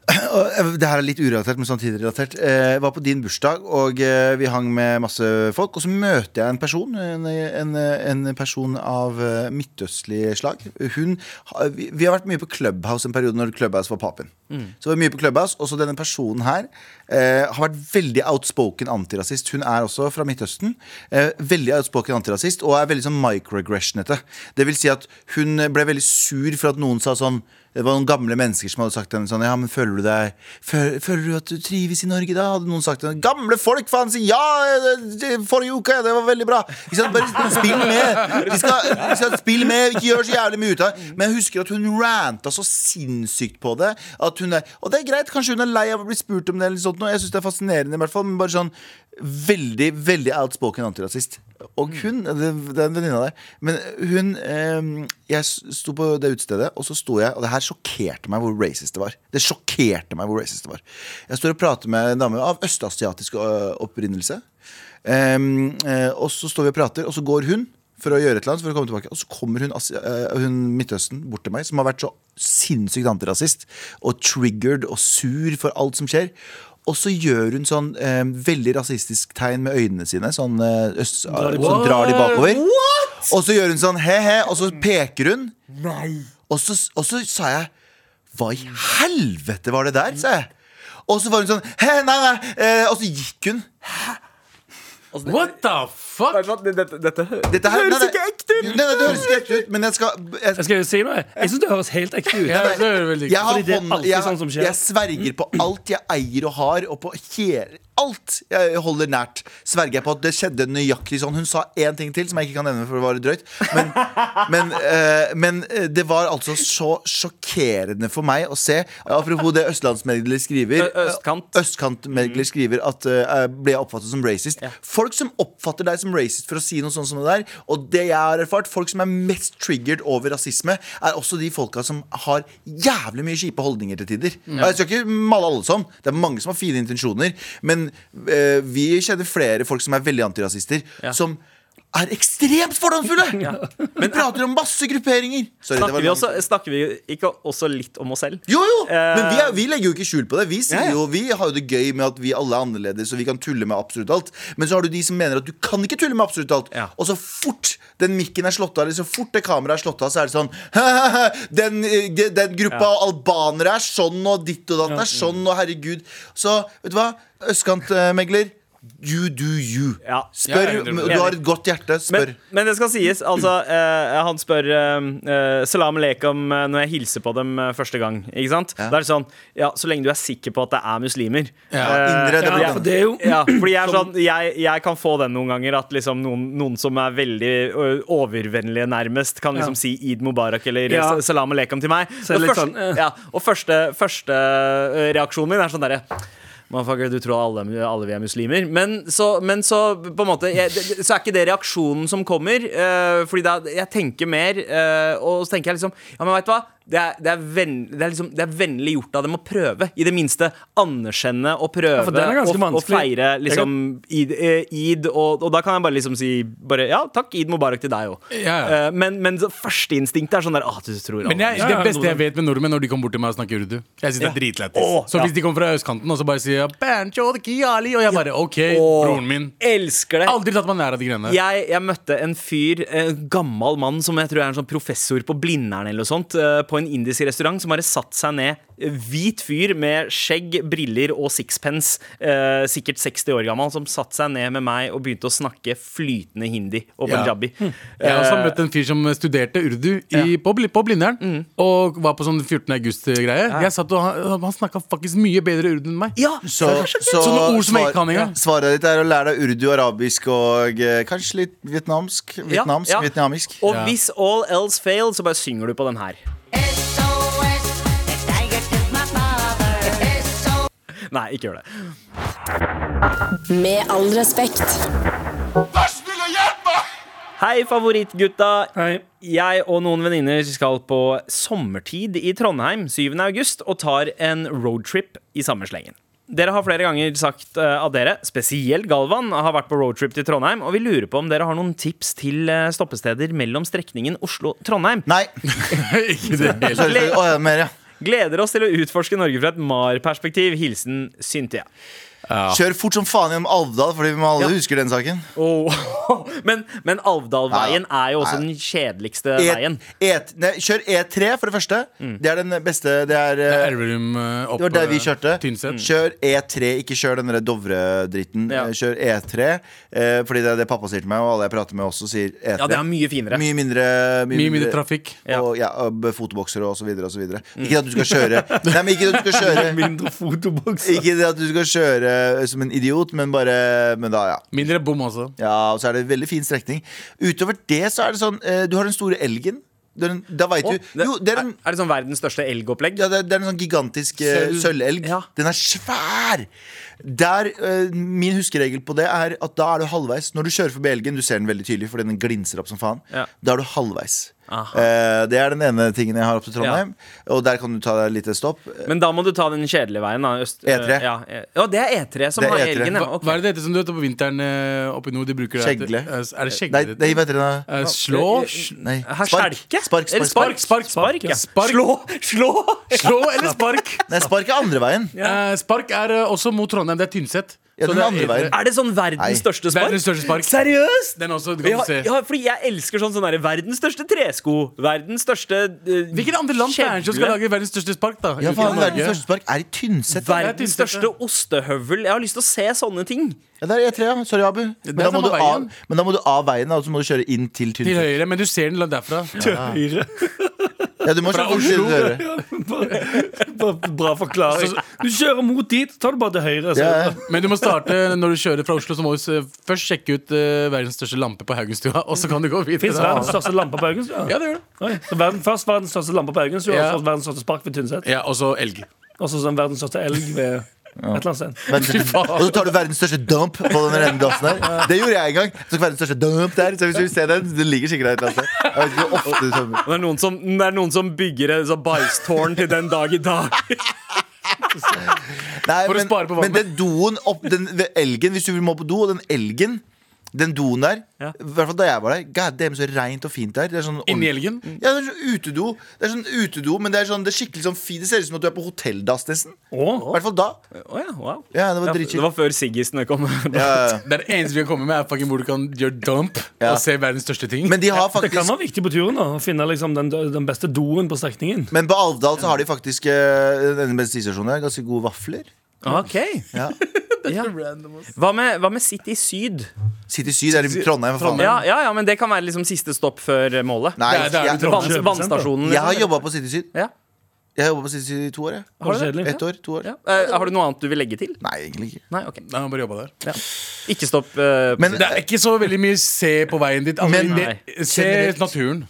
[SPEAKER 3] Og, eh, Det her er litt urelatert, men samtidig relatert. Eh, Jeg var på din bursdag, og eh, vi hang med masse folk. Og så møter jeg en person En, en, en person av eh, midtøstlig slag. Hun, ha- vi, vi har vært mye på Clubhouse en periode når Clubhouse var papen. Så vi var mye på Clubhouse, og så denne personen her eh, har vært veldig outspoken antirasist. Hun er også fra Midtøsten. Eh, veldig outspoken antirasist, og er veldig sånn microaggressionete. Det vil si at hun ble veldig sur for at noen sa sånn det var noen gamle mennesker som hadde sagt til henne sånn Ja, men føler du deg Føler, føler du at du trives i Norge da? Hadde noen sagt til henne Gamle folk, faen! Si ja! det- det- Forrige uke, det var veldig bra! Ikke sant? Bare spill med! De skal, de skal spille med, ikke gjør så jævlig mye ut av det. Men jeg husker at hun ranta så sinnssykt på det. At hun er, og det er greit, kanskje hun er lei av å bli spurt om det, eller sånt, noe. jeg syns det er fascinerende, i hvert fall. Men bare sånn veldig, veldig outspoken antirasist. Og hun, det, det er en venninne der Men hun, eh, jeg sto på det utestedet Og så sto jeg, og det her sjokkerte meg hvor racist det var Det sjokkerte meg hvor racist det var Jeg står og prater med en dame av østasiatisk øh, opprinnelse Ehm, eh, Og så står vi og prater Og så går hun for å gjøre et eller annet For å komme tilbake Og så kommer hun, Asi- eh, hun Midtøsten bort til meg Som har vært så sinnssykt antirasist Og triggered og sur for alt som skjer og så gjør hun sånn eh, veldig rasistisk tegn med øynene sine Sånn, eh, øst, sånn drar de bakover Og så gjør hun sånn he-he Og så peker hun og så, og så sa jeg Hva i helvete var det der? sa jeg Og så var hun sånn Hæ, nei, nei eh, Og så gikk hun
[SPEAKER 2] Altså,
[SPEAKER 5] What the fuck?
[SPEAKER 2] Dette, dette,
[SPEAKER 3] Dette her-
[SPEAKER 2] høres
[SPEAKER 3] nei, nei.
[SPEAKER 2] ikke ekte ut!
[SPEAKER 3] Nei, nei, det høres ikke ekte ut Men jeg skal jeg,
[SPEAKER 4] Jeg skal jo si noe. Jeg syns det høres helt ekte ut.
[SPEAKER 5] Ja, det hører veldig
[SPEAKER 3] jeg, har
[SPEAKER 4] fordi det er
[SPEAKER 3] hånda-
[SPEAKER 4] alltid sånn som
[SPEAKER 3] jeg,
[SPEAKER 4] skjer.
[SPEAKER 3] jeg sverger på alt jeg eier og har, og på hele, alt jeg holder nært. Sverger jeg på at det skjedde nøyaktig sånn. Hun sa én ting til som jeg ikke kan nevne for det var drøyt. Men, men, eh, men eh, det var altså så sjokkerende for meg å se. Apropos det østlandsmegler skriver.
[SPEAKER 2] Ø- østkant. Mm.
[SPEAKER 3] Østkantmegler skriver at eh, ble jeg oppfattet som racist. Folk som oppfatter deg som racist for å si noe sånt som det der, og det jeg har erfart, folk som er mest triggered over rasisme, er også de folka som har jævlig mye kjipe holdninger til tider.
[SPEAKER 2] Mm.
[SPEAKER 3] Og Jeg skal ikke male alle sånn. Det er mange som har fine intensjoner, men eh, vi kjenner flere folk som er veldig antirasister, som er ekstremt fordomsfulle! Men prater om masse grupperinger. Sorry, det var
[SPEAKER 2] Snakker vi,
[SPEAKER 3] langt.
[SPEAKER 2] også, snakker vi ikke også litt om oss selv?
[SPEAKER 3] Jo, jo, men vi,
[SPEAKER 2] Eh,
[SPEAKER 3] er, vi legger jo ikke skjul på det. Vi, sier
[SPEAKER 2] Ja, ja.
[SPEAKER 3] Jo, vi har jo det gøy med at vi alle er annerledes, og vi kan tulle med absolutt alt. Men så har du de som mener at du kan ikke tulle med absolutt alt.
[SPEAKER 2] Ja.
[SPEAKER 3] Og så fort den mikken er slått av, eller så fort det kameraet er slått av, så er det sånn «Hahaha, Den, eh, de- den gruppa albanere er sånn, og ditt og datt er sånn, og herregud. Så vet du hva, østkantmegler, You do you.
[SPEAKER 2] Ja.
[SPEAKER 5] Jeg
[SPEAKER 3] Spør,
[SPEAKER 5] er enig med
[SPEAKER 3] du
[SPEAKER 5] deg.
[SPEAKER 3] har et godt hjerte. Spør.
[SPEAKER 2] Men, men det skal sies, altså eh, Han spør eh, eh, Salam aleikum eh, når jeg hilser på dem eh, første gang. Ikke sant? Da er det sånn Ja, så lenge du er sikker på at det er muslimer. Eh,
[SPEAKER 3] Ja, indre
[SPEAKER 2] ja,
[SPEAKER 3] demokrati.
[SPEAKER 4] for det er jo
[SPEAKER 2] ja, fordi jeg, er sånn, jeg, jeg kan få den noen ganger at liksom noen, noen som er veldig ø, overvennlige, nærmest, kan liksom si Eid Mubarak eller
[SPEAKER 4] Ja.
[SPEAKER 2] sa- salam aleikum til meg.
[SPEAKER 4] Så er det
[SPEAKER 2] Og
[SPEAKER 4] litt
[SPEAKER 2] først-
[SPEAKER 4] sånn, eh.
[SPEAKER 2] ja, og første, første ø, reaksjonen min er sånn derre Motherfucker, du tror alle, alle vi er muslimer. Men så, men så på en måte jeg, det- det- Så er ikke det reaksjonen som kommer. øh, fordi da, jeg tenker mer, øh, og så tenker jeg liksom Ja, men veit du hva? Det er, det, er venn, det, er liksom, det er vennlig gjort av dem å prøve. I det minste anerkjenne og prøve
[SPEAKER 4] Ja, for den er ganske
[SPEAKER 2] og, og
[SPEAKER 4] vanskelig.
[SPEAKER 2] feire liksom, id, eh, id og, og da kan jeg bare liksom si bare, Ja, takk, id mubarak til deg òg.
[SPEAKER 5] Ja, ja.
[SPEAKER 2] men men så førsteinstinktet er sånn der Å, du tror
[SPEAKER 5] Men jeg,
[SPEAKER 4] Ja,
[SPEAKER 5] det
[SPEAKER 4] ja,
[SPEAKER 5] beste jeg
[SPEAKER 4] nordmenn.
[SPEAKER 5] vet med nordmenn, når de kommer bort til meg og snakker urdu Jeg synes det er dritlættis.
[SPEAKER 2] Åh,
[SPEAKER 5] Så
[SPEAKER 2] ja.
[SPEAKER 5] hvis de kommer fra østkanten og så bare sier «Bernt Jod Kiali», Og jeg bare OK, broren min.
[SPEAKER 2] Elsker det.
[SPEAKER 5] Aldri tatt meg nær av de greiene.
[SPEAKER 2] Jeg, jeg møtte en fyr, en gammel mann som jeg tror er en sånn professor på Blindern eller noe sånt, eh, på en indisk restaurant, som bare satt seg ned. Hvit fyr med skjegg, briller og sixpence, eh, sikkert 60 år gammel, som satt seg ned med meg og begynte å snakke flytende hindi og
[SPEAKER 5] Ja. Hm.
[SPEAKER 2] punjabi. Eh,
[SPEAKER 5] Jeg har også møtt en fyr som studerte urdu i, på, Bli- på Blindern.
[SPEAKER 2] Mm.
[SPEAKER 5] Og var på sånn 14. august-greie. Jeg satt og Han, han snakka faktisk mye bedre urdu enn meg.
[SPEAKER 2] Ja,
[SPEAKER 3] Så, så
[SPEAKER 5] Sånne ord som jeg ikke kan engang.
[SPEAKER 3] svaret ditt er å lære deg urdu, arabisk og eh, kanskje litt vietnamsk.
[SPEAKER 2] Ja,
[SPEAKER 3] Vietnamsk,
[SPEAKER 2] ja.
[SPEAKER 3] vietnamisk.
[SPEAKER 2] Og
[SPEAKER 5] Ja.
[SPEAKER 2] hvis all else fail, så bare synger du på den her.
[SPEAKER 7] SOS, the tiger took my father. SOS.
[SPEAKER 2] Nei, ikke gjør det.
[SPEAKER 6] Med all respekt.
[SPEAKER 2] Hei, favorittgutta.
[SPEAKER 4] Hei.
[SPEAKER 2] Jeg og noen venninner skal på sommertid i Trondheim 7. august og tar en roadtrip i samme slengen. Dere har flere ganger sagt eh, at dere, spesielt Galvan, har vært på roadtrip til Trondheim, og vi lurer på om dere har noen tips til eh, stoppesteder mellom strekningen Oslo-Trondheim.
[SPEAKER 3] Nei.
[SPEAKER 5] ikke det hele.
[SPEAKER 3] Sorry, sorry. Å, ja, mer, ja.
[SPEAKER 2] Gleder oss til å utforske Norge fra et MAR-perspektiv. Hilsen Syntia.
[SPEAKER 3] Kjør fort som faen gjennom Alvdal, fordi vi må alle
[SPEAKER 2] Ja.
[SPEAKER 3] husker den saken.
[SPEAKER 2] Åh, Men, men Alvdalveien er jo også den kjedeligste
[SPEAKER 3] E-
[SPEAKER 2] veien. Mm.
[SPEAKER 3] E- nei, kjør E3, for det første. Det er den beste. Det er eh,
[SPEAKER 5] Elverum eh, opp
[SPEAKER 3] Det var der vi kjørte.
[SPEAKER 5] eh, Tynset.
[SPEAKER 3] Kjør E3, ikke kjør den der Dovre-dritten.
[SPEAKER 2] Ja.
[SPEAKER 3] Eh, Kjør E3, eh, fordi det er det pappa sier til meg, og alle jeg prater med også sier E3.
[SPEAKER 2] Ja, det er mye finere.
[SPEAKER 3] Mye mindre,
[SPEAKER 5] Mye mindre trafikk.
[SPEAKER 3] Og, ja, og b- fotobokser og så videre og så videre. Ikke at du skal kjøre Nei, men ikke at du skal kjøre
[SPEAKER 4] Mindre fotobokser.
[SPEAKER 3] Ikke det at du skal kjøre eh, som en idiot, men bare Men da, ja.
[SPEAKER 5] Mindre bom også.
[SPEAKER 3] Ja, og så er det en veldig fin strekning. Utover det så er det sånn eh, Du har den store elgen. Det er den- Da veit
[SPEAKER 2] Åh,
[SPEAKER 3] du Jo, det er en
[SPEAKER 2] er det sånn verdens største elgopplegg?
[SPEAKER 3] ja, det, er- det er en sånn gigantisk eh,
[SPEAKER 5] Sølv.
[SPEAKER 3] sølvelg.
[SPEAKER 2] Ja.
[SPEAKER 3] Den er svær! Der, eh, min huskeregel på det er at da er du halvveis. Når du kjører forbi elgen, du ser den veldig tydelig fordi den glinser opp som faen.
[SPEAKER 2] Ja.
[SPEAKER 3] Da er du halvveis.
[SPEAKER 2] Aha.
[SPEAKER 3] Eh, det er den ene tingen jeg har opp til Trondheim. Og der kan du ta deg et lite stopp.
[SPEAKER 2] Men da må du ta den kjedelige veien, da. Øst,
[SPEAKER 3] E3.
[SPEAKER 2] Ja, e- ja, det er E3 som
[SPEAKER 3] Det er E
[SPEAKER 2] har
[SPEAKER 3] E3.
[SPEAKER 2] elgen. Ja.
[SPEAKER 5] Hva,
[SPEAKER 2] ok.
[SPEAKER 5] hva er det det heter som du vet på vinteren eh, oppe i nord? De bruker det at-
[SPEAKER 3] Skjegle.
[SPEAKER 5] eh, er det skjegle?
[SPEAKER 3] Nei,
[SPEAKER 5] det
[SPEAKER 3] nei,
[SPEAKER 5] heter?
[SPEAKER 3] vet dere det?
[SPEAKER 5] Eh, slå,
[SPEAKER 3] Nei.
[SPEAKER 2] Her,
[SPEAKER 3] Spark.
[SPEAKER 2] Skjelke?
[SPEAKER 3] Spark,
[SPEAKER 2] Eller
[SPEAKER 3] spark,
[SPEAKER 2] spark,
[SPEAKER 3] spark.
[SPEAKER 2] spark, ja.
[SPEAKER 5] Spark.
[SPEAKER 2] Slå, slå!
[SPEAKER 5] slå eller spark?
[SPEAKER 3] Nei, spark er andre veien.
[SPEAKER 5] Eh, spark er eh, også mot Trondheim. Det er Tynset.
[SPEAKER 3] Ja,
[SPEAKER 5] Så
[SPEAKER 3] den
[SPEAKER 5] det er
[SPEAKER 3] andre
[SPEAKER 5] eldre-
[SPEAKER 3] veien.
[SPEAKER 2] Er det sånn
[SPEAKER 3] Nei.
[SPEAKER 2] verdens største spark?
[SPEAKER 5] Verdens største spark.
[SPEAKER 2] Seriøst?
[SPEAKER 5] Den også, du kan
[SPEAKER 2] Ja,
[SPEAKER 5] se.
[SPEAKER 2] ja, fordi jeg elsker sånn sånn der, verdens største tresko. Verdens største eh,
[SPEAKER 5] Hvilket andre land er det som skal
[SPEAKER 2] kjevle.
[SPEAKER 5] lage verdens største spark? da?
[SPEAKER 3] Ja,
[SPEAKER 5] Utenom
[SPEAKER 3] faen,
[SPEAKER 5] Norge.
[SPEAKER 3] verdens største spark er i Tynset. da.
[SPEAKER 5] Det er
[SPEAKER 2] Verdens
[SPEAKER 5] Tynset,
[SPEAKER 2] største ostehøvel. Jeg har lyst til å se sånne ting.
[SPEAKER 3] Ja, det er E3, ja. Sorry, Abu. Men da,
[SPEAKER 5] er
[SPEAKER 3] må
[SPEAKER 5] samme
[SPEAKER 3] du av,
[SPEAKER 5] veien.
[SPEAKER 3] men da må du av veien, da, og så må du kjøre inn til
[SPEAKER 5] Til
[SPEAKER 3] Tynset.
[SPEAKER 5] høyre, men du ser den langt derfra.
[SPEAKER 3] Ja, du må
[SPEAKER 5] Fra
[SPEAKER 3] kjøre til
[SPEAKER 5] Oslo.
[SPEAKER 3] høyre.
[SPEAKER 4] Bare Bra forklaring. Du kjører mot dit, så tar du bare til høyre. Så.
[SPEAKER 3] Ja, ja.
[SPEAKER 5] Men du må starte når du kjører fra Oslo, så må du se- først sjekke ut eh, verdens største lampe på Haugenstua, og så kan du gå
[SPEAKER 4] Fins
[SPEAKER 5] videre.
[SPEAKER 2] altså?
[SPEAKER 4] verdens største lampe på Haugenstua?
[SPEAKER 5] Ja, det gjør det.
[SPEAKER 4] Oi, så verden, først verdens største lampe på Haugenstua,
[SPEAKER 5] Ja.
[SPEAKER 4] og så verdens største spark ved Tynset.
[SPEAKER 5] Ja, og så elg.
[SPEAKER 4] Og så sånn verdens største elg ved et eller annet sted.
[SPEAKER 3] Verdens største- Og så tar du verdens største dump på den rene dassen her. Det gjorde jeg en gang. Jeg tok verdens største dump der. Så hvis du ser den, den ligger sikkert der et eller annet sted. Jeg vet ikke hvor ofte sånn. du tømmer.
[SPEAKER 2] Og det er noen som, det er noen som bygger et sånt bajstårn til den dag i dag.
[SPEAKER 3] Nei,
[SPEAKER 5] For å
[SPEAKER 3] men,
[SPEAKER 5] spare på vannet.
[SPEAKER 3] men den doen opp, den ved elgen, hvis du vil må på do, og den elgen den doen der, i
[SPEAKER 2] Ja.
[SPEAKER 3] hvert fall da jeg var der, god damn, så reint og fint der. Det er sånn
[SPEAKER 5] Inni
[SPEAKER 3] ordentlig-
[SPEAKER 5] elgen.
[SPEAKER 3] Ja, det er sånn utedo. Det er sånn utedo, men det er sånn, det er skikkelig sånn fint. Det ser ut som at du er på hotelldass, nesten. I hvert fall da.
[SPEAKER 2] Å ja, wow.
[SPEAKER 3] Ja, det
[SPEAKER 2] Ja,
[SPEAKER 3] var
[SPEAKER 2] det
[SPEAKER 3] dritchill.
[SPEAKER 2] var før Siggisene kom.
[SPEAKER 3] Ja, ja.
[SPEAKER 5] Det er det eneste vi kan komme med, er fucking hvor du kan gjøre dump
[SPEAKER 3] Ja.
[SPEAKER 5] og se verdens største ting.
[SPEAKER 3] Men de har
[SPEAKER 4] Det kan
[SPEAKER 3] faktisk
[SPEAKER 4] være viktig på turen da, å finne liksom den, den beste doen på strekningen.
[SPEAKER 3] Men på Alvdal så har de faktisk eh, denne bensinstasjonen her, ganske gode vafler.
[SPEAKER 2] Ok,
[SPEAKER 3] Ja.
[SPEAKER 2] Ja. Hva, med, hva med City Syd?
[SPEAKER 3] City Syd er i Trondheim, for faen.
[SPEAKER 2] Ja, ja, ja, men det kan være liksom siste stopp før eh, målet.
[SPEAKER 3] Nei,
[SPEAKER 5] Det er- det er jo
[SPEAKER 3] jeg,
[SPEAKER 5] Trondheim.
[SPEAKER 2] Vann, vannstasjonen.
[SPEAKER 3] jeg har jobba på City Syd.
[SPEAKER 2] Ja.
[SPEAKER 3] Jeg har jobbet på City Syd i to år. Jeg.
[SPEAKER 4] Var det kjedelig?
[SPEAKER 3] Ett år, to år.
[SPEAKER 2] Ja. Eh, har du noe annet du vil legge til?
[SPEAKER 3] Nei, egentlig ikke.
[SPEAKER 2] Nei, ok
[SPEAKER 5] Nei, han bare jobba der.
[SPEAKER 2] Ikke stopp. eh,
[SPEAKER 3] Men
[SPEAKER 5] Det er ikke så veldig mye se på veien dit. Altså,
[SPEAKER 3] Men-
[SPEAKER 5] det, se
[SPEAKER 3] Generelt.
[SPEAKER 5] naturen,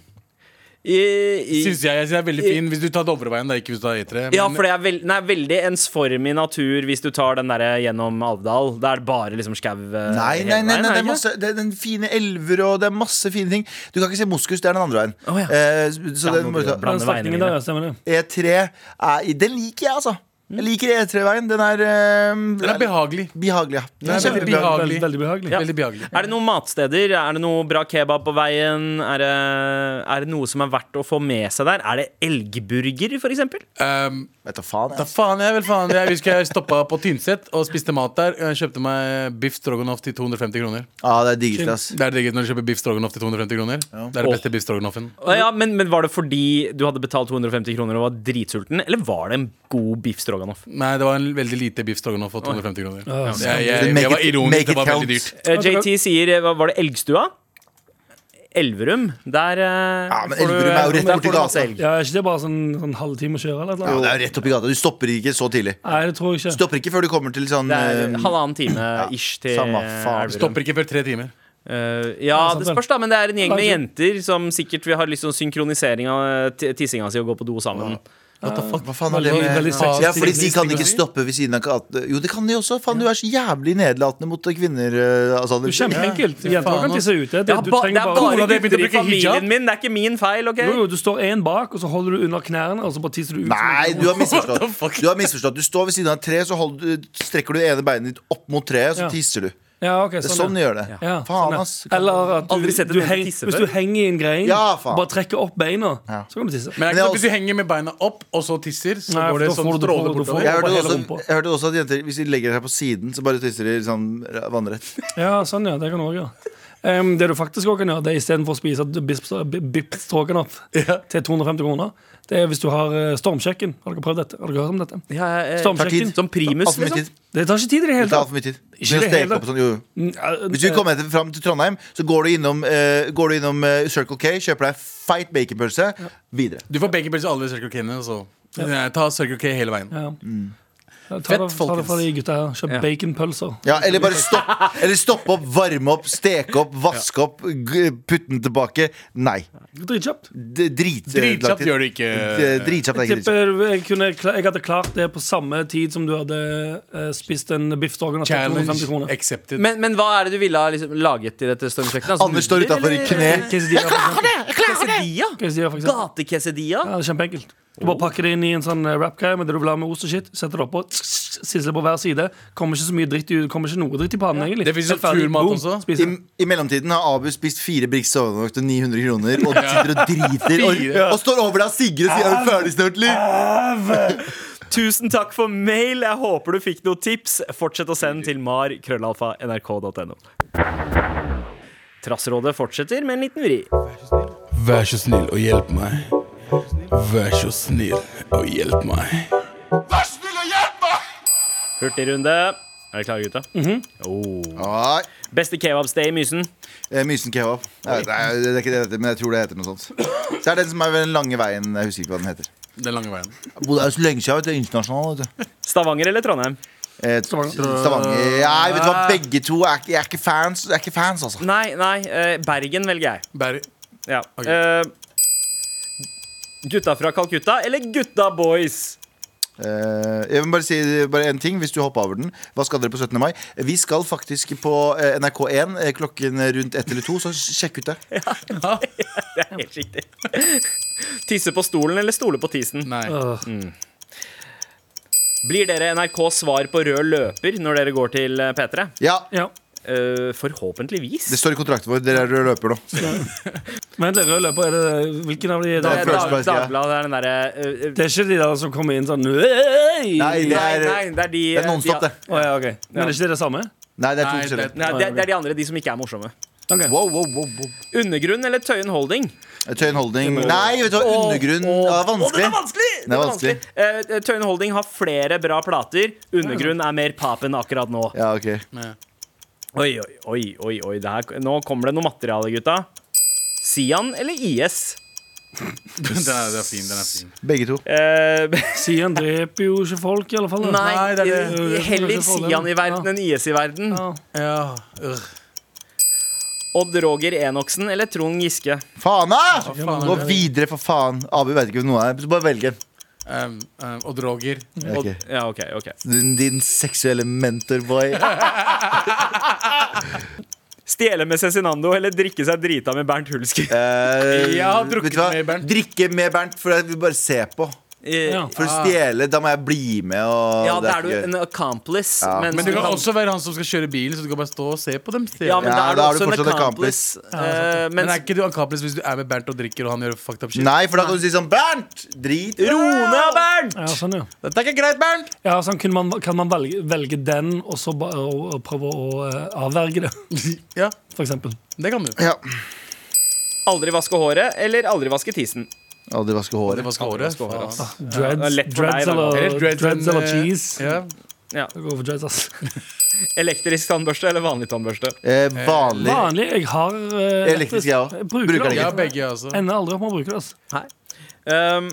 [SPEAKER 2] i, i,
[SPEAKER 5] syns jeg. Jeg synes det er veldig fin hvis du tar Dovreveien. Da, ikke hvis du tar E3.
[SPEAKER 2] ja,
[SPEAKER 5] men-
[SPEAKER 2] for det er vel- den er veldig ensformig natur hvis du tar den der gjennom Alvdal. Da er det bare liksom skau. eh,
[SPEAKER 3] Nei,
[SPEAKER 2] hele
[SPEAKER 3] nei, nei,
[SPEAKER 2] veien,
[SPEAKER 3] nei,
[SPEAKER 2] er
[SPEAKER 3] det
[SPEAKER 2] det
[SPEAKER 3] er
[SPEAKER 2] ikke?
[SPEAKER 3] masse det er den fine elver og det er masse fine ting. Du kan ikke se moskus, det er den andre veien.
[SPEAKER 2] Å, ja.
[SPEAKER 3] Eh, så
[SPEAKER 2] Ja,
[SPEAKER 3] den
[SPEAKER 2] nå
[SPEAKER 3] må
[SPEAKER 2] blir
[SPEAKER 3] du
[SPEAKER 2] det
[SPEAKER 3] ta.
[SPEAKER 2] bra.
[SPEAKER 4] Den strekningen der, ja, stemmer det.
[SPEAKER 3] E3 er, Den liker jeg, altså. Jeg liker E3-veien. Den er eh,
[SPEAKER 5] Den er behagelig.
[SPEAKER 3] behagelig. Ja. Den
[SPEAKER 5] Den
[SPEAKER 3] er
[SPEAKER 5] er veldig
[SPEAKER 3] kjempebehagelig.
[SPEAKER 4] Veldig,
[SPEAKER 5] behagelig.
[SPEAKER 4] veldig behagelig.
[SPEAKER 2] Ja.
[SPEAKER 5] Veldig behagelig.
[SPEAKER 2] Er det noen matsteder? Er det noe bra kebab på veien? Er det, er det noe som er verdt å få med seg der? Er det elgburger, for eksempel?
[SPEAKER 5] Um,
[SPEAKER 3] Vet du faen,
[SPEAKER 5] da
[SPEAKER 3] jeg.
[SPEAKER 5] faen jeg vel faen jeg. Vi skulle stoppa på Tynset og spiste mat der. Jeg kjøpte meg biff stroganoff til 250 kroner.
[SPEAKER 3] Ja, det er diggest, ass.
[SPEAKER 5] Det er digg når du kjøper biff stroganoff til 250 kroner. Det er det beste biff stroganoffen.
[SPEAKER 2] Å Ja, men, men var det fordi du hadde betalt 250 kroner og var dritsulten, eller var det en god biff stroganoff?
[SPEAKER 5] Nei, det var en veldig lite biff stroganoff for 250 kroner.
[SPEAKER 4] Ja,
[SPEAKER 5] Jeg, jeg, jeg,
[SPEAKER 3] Make
[SPEAKER 5] var
[SPEAKER 3] it-
[SPEAKER 5] ironisk.
[SPEAKER 3] make
[SPEAKER 5] Det
[SPEAKER 3] it
[SPEAKER 5] var
[SPEAKER 3] count.
[SPEAKER 5] veldig dyrt.
[SPEAKER 2] Eh, JT sier eh, hva- Var det Elgstua? Elverum. Der eh,
[SPEAKER 3] Ja, men
[SPEAKER 2] får du-
[SPEAKER 3] Elverum er jo rett
[SPEAKER 2] der
[SPEAKER 3] borti
[SPEAKER 2] får du masse
[SPEAKER 3] gata.
[SPEAKER 2] elg.
[SPEAKER 4] Ja, er ikke det bare sånn, sånn halvtime å kjøre? Eller, et
[SPEAKER 3] Ja,
[SPEAKER 4] eller?
[SPEAKER 3] det
[SPEAKER 4] annet?
[SPEAKER 3] er jo rett oppi gata. Du stopper ikke så tidlig.
[SPEAKER 4] Nei, det tror jeg ikke.
[SPEAKER 3] Stopper ikke før du kommer til sånn
[SPEAKER 2] Det er
[SPEAKER 3] eh,
[SPEAKER 2] halvannen time ish til
[SPEAKER 3] samme faen.
[SPEAKER 2] Elverum.
[SPEAKER 5] Stopper ikke før tre timer.
[SPEAKER 2] Eh, ja,
[SPEAKER 4] sant,
[SPEAKER 2] det
[SPEAKER 4] vel.
[SPEAKER 2] spørs, da. Men det er en gjeng med
[SPEAKER 4] Kanskje.
[SPEAKER 2] jenter som sikkert vil ha litt sånn synkronisering av t- tissinga si og gå på do sammen.
[SPEAKER 5] What the fuck?
[SPEAKER 3] Hva faen er det
[SPEAKER 4] Veldig-
[SPEAKER 3] med
[SPEAKER 4] veldig sexy
[SPEAKER 3] Ja, fordi de
[SPEAKER 4] stilling-
[SPEAKER 3] kan ikke
[SPEAKER 4] stilling.
[SPEAKER 3] stoppe ved siden av gata. Jo, det kan de også. Faen, du er så jævlig nedlatende mot kvinner. eh, Alexander.
[SPEAKER 4] Det er Kjempeenkelt. Jenter
[SPEAKER 5] Faen,
[SPEAKER 4] kan tisse ute. Det,
[SPEAKER 2] Det er,
[SPEAKER 4] du
[SPEAKER 2] ba, det
[SPEAKER 4] trenger
[SPEAKER 2] er
[SPEAKER 4] bare
[SPEAKER 2] bare
[SPEAKER 5] Kona di begynte å
[SPEAKER 2] gutter i
[SPEAKER 5] bruke hijab.
[SPEAKER 2] familien min, det er ikke min feil, OK?
[SPEAKER 4] Jo, jo, du står én bak, og så holder du under knærne, og så bare tisser du ut. som
[SPEAKER 3] Nei,
[SPEAKER 4] en-
[SPEAKER 3] du har misforstått. Du har misforstått Du står ved siden av et tre, så holder, du- strekker du det ene beinet ditt opp mot treet, og så
[SPEAKER 4] Ja.
[SPEAKER 3] tisser du.
[SPEAKER 4] ja, ok,
[SPEAKER 3] Det er
[SPEAKER 4] sånn,
[SPEAKER 3] sånn du gjør det.
[SPEAKER 4] Ja,
[SPEAKER 3] Faen,
[SPEAKER 4] sånn, ja.
[SPEAKER 3] ass.
[SPEAKER 4] Eller at
[SPEAKER 2] Aldri sett
[SPEAKER 4] du,
[SPEAKER 2] en
[SPEAKER 4] du
[SPEAKER 2] jente
[SPEAKER 4] heng,
[SPEAKER 2] tisse
[SPEAKER 4] hvis
[SPEAKER 2] før.
[SPEAKER 4] du henger i en grein,
[SPEAKER 3] Ja, faen.
[SPEAKER 4] bare trekker opp beina,
[SPEAKER 3] Ja.
[SPEAKER 4] så kan du tisse.
[SPEAKER 5] Men
[SPEAKER 3] Men
[SPEAKER 5] er det
[SPEAKER 3] jeg
[SPEAKER 5] ikke sånn, hvis du
[SPEAKER 3] også-
[SPEAKER 5] henger med beina opp, og så tisser, så
[SPEAKER 4] Nei, for
[SPEAKER 5] går det
[SPEAKER 4] da
[SPEAKER 5] sånn
[SPEAKER 4] får du- da får
[SPEAKER 5] stråler
[SPEAKER 4] du- da får
[SPEAKER 5] bortover.
[SPEAKER 4] du-
[SPEAKER 3] Jeg hørte,
[SPEAKER 4] Bare hele
[SPEAKER 3] også,
[SPEAKER 4] rumpa.
[SPEAKER 3] jeg hørte også at jenter hvis de legger seg på siden, så bare tisser de sånn vannrett.
[SPEAKER 4] Ja, sånn, ja. Det kan du òg gjøre. Em, det du faktisk også kan gjøre, det er istedenfor å spise bipp stroganoff til 250 kroner, det er hvis du har eh, stormkjøkken. Har dere prøvd dette? Har dere hørt om dette?
[SPEAKER 2] Ja, eh,
[SPEAKER 3] tar
[SPEAKER 4] Stormkjøkken.
[SPEAKER 3] tid.
[SPEAKER 2] Som primus,
[SPEAKER 3] Altfor mye
[SPEAKER 2] liksom.
[SPEAKER 3] tid.
[SPEAKER 4] Det tar ikke tid i det
[SPEAKER 3] Det
[SPEAKER 4] hele
[SPEAKER 3] tar
[SPEAKER 4] tatt. Mm, eh,
[SPEAKER 3] altfor mye tid.
[SPEAKER 4] Ikke
[SPEAKER 3] Begynn å
[SPEAKER 4] det hele
[SPEAKER 3] steke opp og sånn, jo. Hvis du kommer til, fram til Trondheim, så går du innom, eh, går du innom eh, Circle K, kjøper deg feit baconpølse, videre.
[SPEAKER 5] Du får baconpølse alle ved Circle K-ene. så- Nei, Ta Circle K hele veien.
[SPEAKER 4] Ja.
[SPEAKER 3] Mm.
[SPEAKER 4] Ta det-
[SPEAKER 5] Fett,
[SPEAKER 4] Ta det fra de
[SPEAKER 5] folkens.
[SPEAKER 4] gutta her. Kjøp
[SPEAKER 2] Ja.
[SPEAKER 4] baconpølser.
[SPEAKER 3] Ja, eller bare stopp, eller stopp opp, varme opp, steke opp, vaske opp, g- putte den tilbake. Nei.
[SPEAKER 4] Dritkjapt.
[SPEAKER 3] D- Drit,
[SPEAKER 5] Dritkjapt gjør du ikke.
[SPEAKER 3] Eh, Dritkjapt er
[SPEAKER 4] Jeg
[SPEAKER 3] ikke dritkjapt.
[SPEAKER 4] tipper jeg, kunne, kla- jeg hadde klart det på samme tid som du hadde eh, spist en biff stroganoff til 250
[SPEAKER 5] Challenge
[SPEAKER 4] kroner.
[SPEAKER 5] accepted.
[SPEAKER 2] Men, men hva er det du ville ha liksom, laget i dette stormkjøkkenet? Altså,
[SPEAKER 3] Anders står
[SPEAKER 2] nudler,
[SPEAKER 3] utenfor i
[SPEAKER 2] eller?
[SPEAKER 3] kne.
[SPEAKER 4] Quesadilla, for eksempel.
[SPEAKER 2] Quesadilla?
[SPEAKER 4] Quesadilla, for eksempel.
[SPEAKER 2] Gatequesadilla?
[SPEAKER 4] Ja, det er kjempeenkelt. Du bare pakker det inn i en sånn eh, wrap-greie med det du vil ha med ost og shit. Setter det oppå, sisler på hver side. Kommer ikke så mye dritt i, kommer ikke noe dritt i pannen, egentlig.
[SPEAKER 5] Det finnes jo
[SPEAKER 4] Helt ferdig.
[SPEAKER 5] turmat
[SPEAKER 4] Boom.
[SPEAKER 5] også.
[SPEAKER 4] Spiser
[SPEAKER 3] I,
[SPEAKER 4] det.
[SPEAKER 3] I mellomtiden har Abu spist fire brikser overvåk til 900 kroner og sitter og driter og,
[SPEAKER 5] Fire.
[SPEAKER 3] og står over deg og Sigrid og sier er du ferdig snart, eller?
[SPEAKER 2] Tusen takk for mail. Jeg håper du fikk noen tips. Fortsett å sende til mar.krøllalfa.nrk.no. Trassrådet fortsetter med en liten vri.
[SPEAKER 5] Vær så snill og hjelp meg. Vær så snill og hjelp meg.
[SPEAKER 2] Hurtigrunde. Er dere klare, gutta?
[SPEAKER 3] Nei.
[SPEAKER 2] Beste kebabsted i Mysen?
[SPEAKER 3] Eh, Mysen kebab. Nei, det er det er ikke det det heter, men jeg tror det heter noe sånt. Så er det den som er ved den lange veien. Jeg husker ikke hva den heter.
[SPEAKER 5] Den lange veien.
[SPEAKER 3] Jeg Bodde her så lenge siden, vet du. Internasjonal, vet du.
[SPEAKER 2] Stavanger eller Trondheim?
[SPEAKER 3] Eh, Stavanger. Nei, vet du
[SPEAKER 5] Ah.
[SPEAKER 3] hva, begge to er, ikke- jeg er ikke fans, jeg er ikke fans altså.
[SPEAKER 2] Nei, nei. eh, Bergen velger jeg.
[SPEAKER 5] Berry.
[SPEAKER 2] Ja.
[SPEAKER 5] Ok.
[SPEAKER 2] Eh, gutta fra Calcutta eller Gutta Boys?
[SPEAKER 3] Eh, jeg vil bare si bare en ting, hvis du hopper over den. Hva skal dere på 17. mai? Vi skal faktisk på eh, NRK1 eh, klokken rundt ett eller to, så sjekk ut det.
[SPEAKER 2] Det er helt riktig. Tisse på stolen eller stole på tisen?
[SPEAKER 5] Nei.
[SPEAKER 4] Åh,
[SPEAKER 2] Blir dere NRKs svar på rød løper når dere går til eh, P3?
[SPEAKER 3] Ja,
[SPEAKER 4] Ja.
[SPEAKER 2] Eh, forhåpentligvis.
[SPEAKER 3] det står i kontrakten vår. Dere er røde løper nå.
[SPEAKER 4] Men det røde løpet, er det Hvilken av de er
[SPEAKER 2] Det
[SPEAKER 4] det?
[SPEAKER 2] er
[SPEAKER 3] First
[SPEAKER 2] Eh, Dag-
[SPEAKER 3] Price, ja.
[SPEAKER 2] Dagbladet det er den derre eh,
[SPEAKER 4] Det er ikke de der som kommer inn sånn «Øy!»
[SPEAKER 3] Nei, det
[SPEAKER 2] Nei,
[SPEAKER 3] er,
[SPEAKER 2] nei, det er de eh,
[SPEAKER 3] det er nonstop,
[SPEAKER 2] de-
[SPEAKER 3] det.
[SPEAKER 4] Å, ja, ok. Men er ikke det det samme?
[SPEAKER 3] Nei, det er to
[SPEAKER 5] Nei,
[SPEAKER 3] forskjellige.
[SPEAKER 5] det-
[SPEAKER 2] Nei, det, er- det er de andre, de som ikke er morsomme.
[SPEAKER 4] Ok.
[SPEAKER 3] Wow, wow, wow, wow.
[SPEAKER 2] Undergrunn eller Tøyen Holding?
[SPEAKER 3] Tøyen Holding. Nei, vet du hva, undergrunn. Ja, det
[SPEAKER 2] Å,
[SPEAKER 3] er
[SPEAKER 2] det
[SPEAKER 3] vanskelig.
[SPEAKER 2] er vanskelig! den er
[SPEAKER 3] vanskelig.
[SPEAKER 2] vanskelig. Eh, Tøyen Holding har flere bra plater. Undergrunn er mer pap enn akkurat nå.
[SPEAKER 3] Ja, ok
[SPEAKER 2] Oi, oi, oi, oi, oi. Det her, nå kommer det noe materiale, gutta. Sian eller IS?
[SPEAKER 5] Den er, den er fin. den er fin
[SPEAKER 3] Begge to.
[SPEAKER 2] Eh,
[SPEAKER 4] Sian dreper jo ikke folk, i alle fall.
[SPEAKER 2] nei,
[SPEAKER 5] det er
[SPEAKER 4] det.
[SPEAKER 2] heller Sian i verden enn IS i verden.
[SPEAKER 4] Ja.
[SPEAKER 5] Ja, øh,
[SPEAKER 2] Odd Roger Enoksen eller Trond Giske?
[SPEAKER 3] Faen, da!
[SPEAKER 5] faen er
[SPEAKER 3] Gå
[SPEAKER 5] det?
[SPEAKER 3] videre, for faen. Abu vet ikke hvem noe er. Så bare velg en.
[SPEAKER 5] um, um, og Roger.
[SPEAKER 2] Odd,
[SPEAKER 3] Ok.
[SPEAKER 2] ja, ok, ok
[SPEAKER 3] Din, din seksuelle mentorboy.
[SPEAKER 2] Stjele med Cezinando eller drikke seg drita med Bernt Hulsker?
[SPEAKER 3] Eh,
[SPEAKER 5] Jeg har drukket
[SPEAKER 3] vet du hva?
[SPEAKER 5] med Bernt.
[SPEAKER 3] Drikke med Bernt, for jeg vil bare se på.
[SPEAKER 2] Ja.
[SPEAKER 3] For å stjele, da må jeg bli med. Og
[SPEAKER 2] Ja, da er du
[SPEAKER 3] ikke gøy.
[SPEAKER 2] en accomplice.
[SPEAKER 3] Ja.
[SPEAKER 2] Men,
[SPEAKER 5] Men det kan også være han som skal kjøre bilen, så du kan bare stå og se på dem.
[SPEAKER 2] ja, men da er du
[SPEAKER 3] Ja, da er du
[SPEAKER 2] også en
[SPEAKER 3] fortsatt
[SPEAKER 2] accomplice. Eh,
[SPEAKER 5] Men
[SPEAKER 2] mens
[SPEAKER 5] er ikke du ankapelig hvis du er med Bernt og drikker, og han gjør fucked up shit?
[SPEAKER 3] Nei, for da kan du si sånn Bernt! Drit i
[SPEAKER 2] Ro
[SPEAKER 3] det!»
[SPEAKER 2] ned, Bernt!
[SPEAKER 4] Ja, sånn, ja.
[SPEAKER 5] Dette er ikke greit, Bernt!
[SPEAKER 4] Ja, sånn, kunne man, kan man velge, velge den, og så ba, og, og prøve å eh, avverge det,
[SPEAKER 5] Ja,
[SPEAKER 4] for eksempel?
[SPEAKER 5] det kan du.
[SPEAKER 3] Ja.
[SPEAKER 2] Aldri vaske håret eller aldri vaske tissen.
[SPEAKER 3] Aldri vaske
[SPEAKER 5] Det
[SPEAKER 3] håret.
[SPEAKER 5] vasker håret.
[SPEAKER 2] vasker håret, ass.
[SPEAKER 5] Faen, ass.
[SPEAKER 2] det er
[SPEAKER 4] Dreads,
[SPEAKER 2] lett for deg,
[SPEAKER 4] dreads,
[SPEAKER 2] da.
[SPEAKER 4] eller,
[SPEAKER 5] Eller
[SPEAKER 4] dreads,
[SPEAKER 5] dreads enn,
[SPEAKER 4] eller
[SPEAKER 5] eh,
[SPEAKER 4] cheese.
[SPEAKER 5] Ja.
[SPEAKER 4] Jeg går for dreads, ass.
[SPEAKER 2] Elektrisk tannbørste eller vanlig tannbørste.
[SPEAKER 3] Eh, vanlig.
[SPEAKER 4] Vanlig. Jeg har eh,
[SPEAKER 3] Elektrisk, jeg også.
[SPEAKER 4] Jeg
[SPEAKER 3] Bruker
[SPEAKER 4] Bruker
[SPEAKER 3] det
[SPEAKER 4] det.
[SPEAKER 5] ja,
[SPEAKER 4] aldri.
[SPEAKER 5] begge, altså.
[SPEAKER 4] Ender aldri opp med å bruke det. ass.
[SPEAKER 2] Um,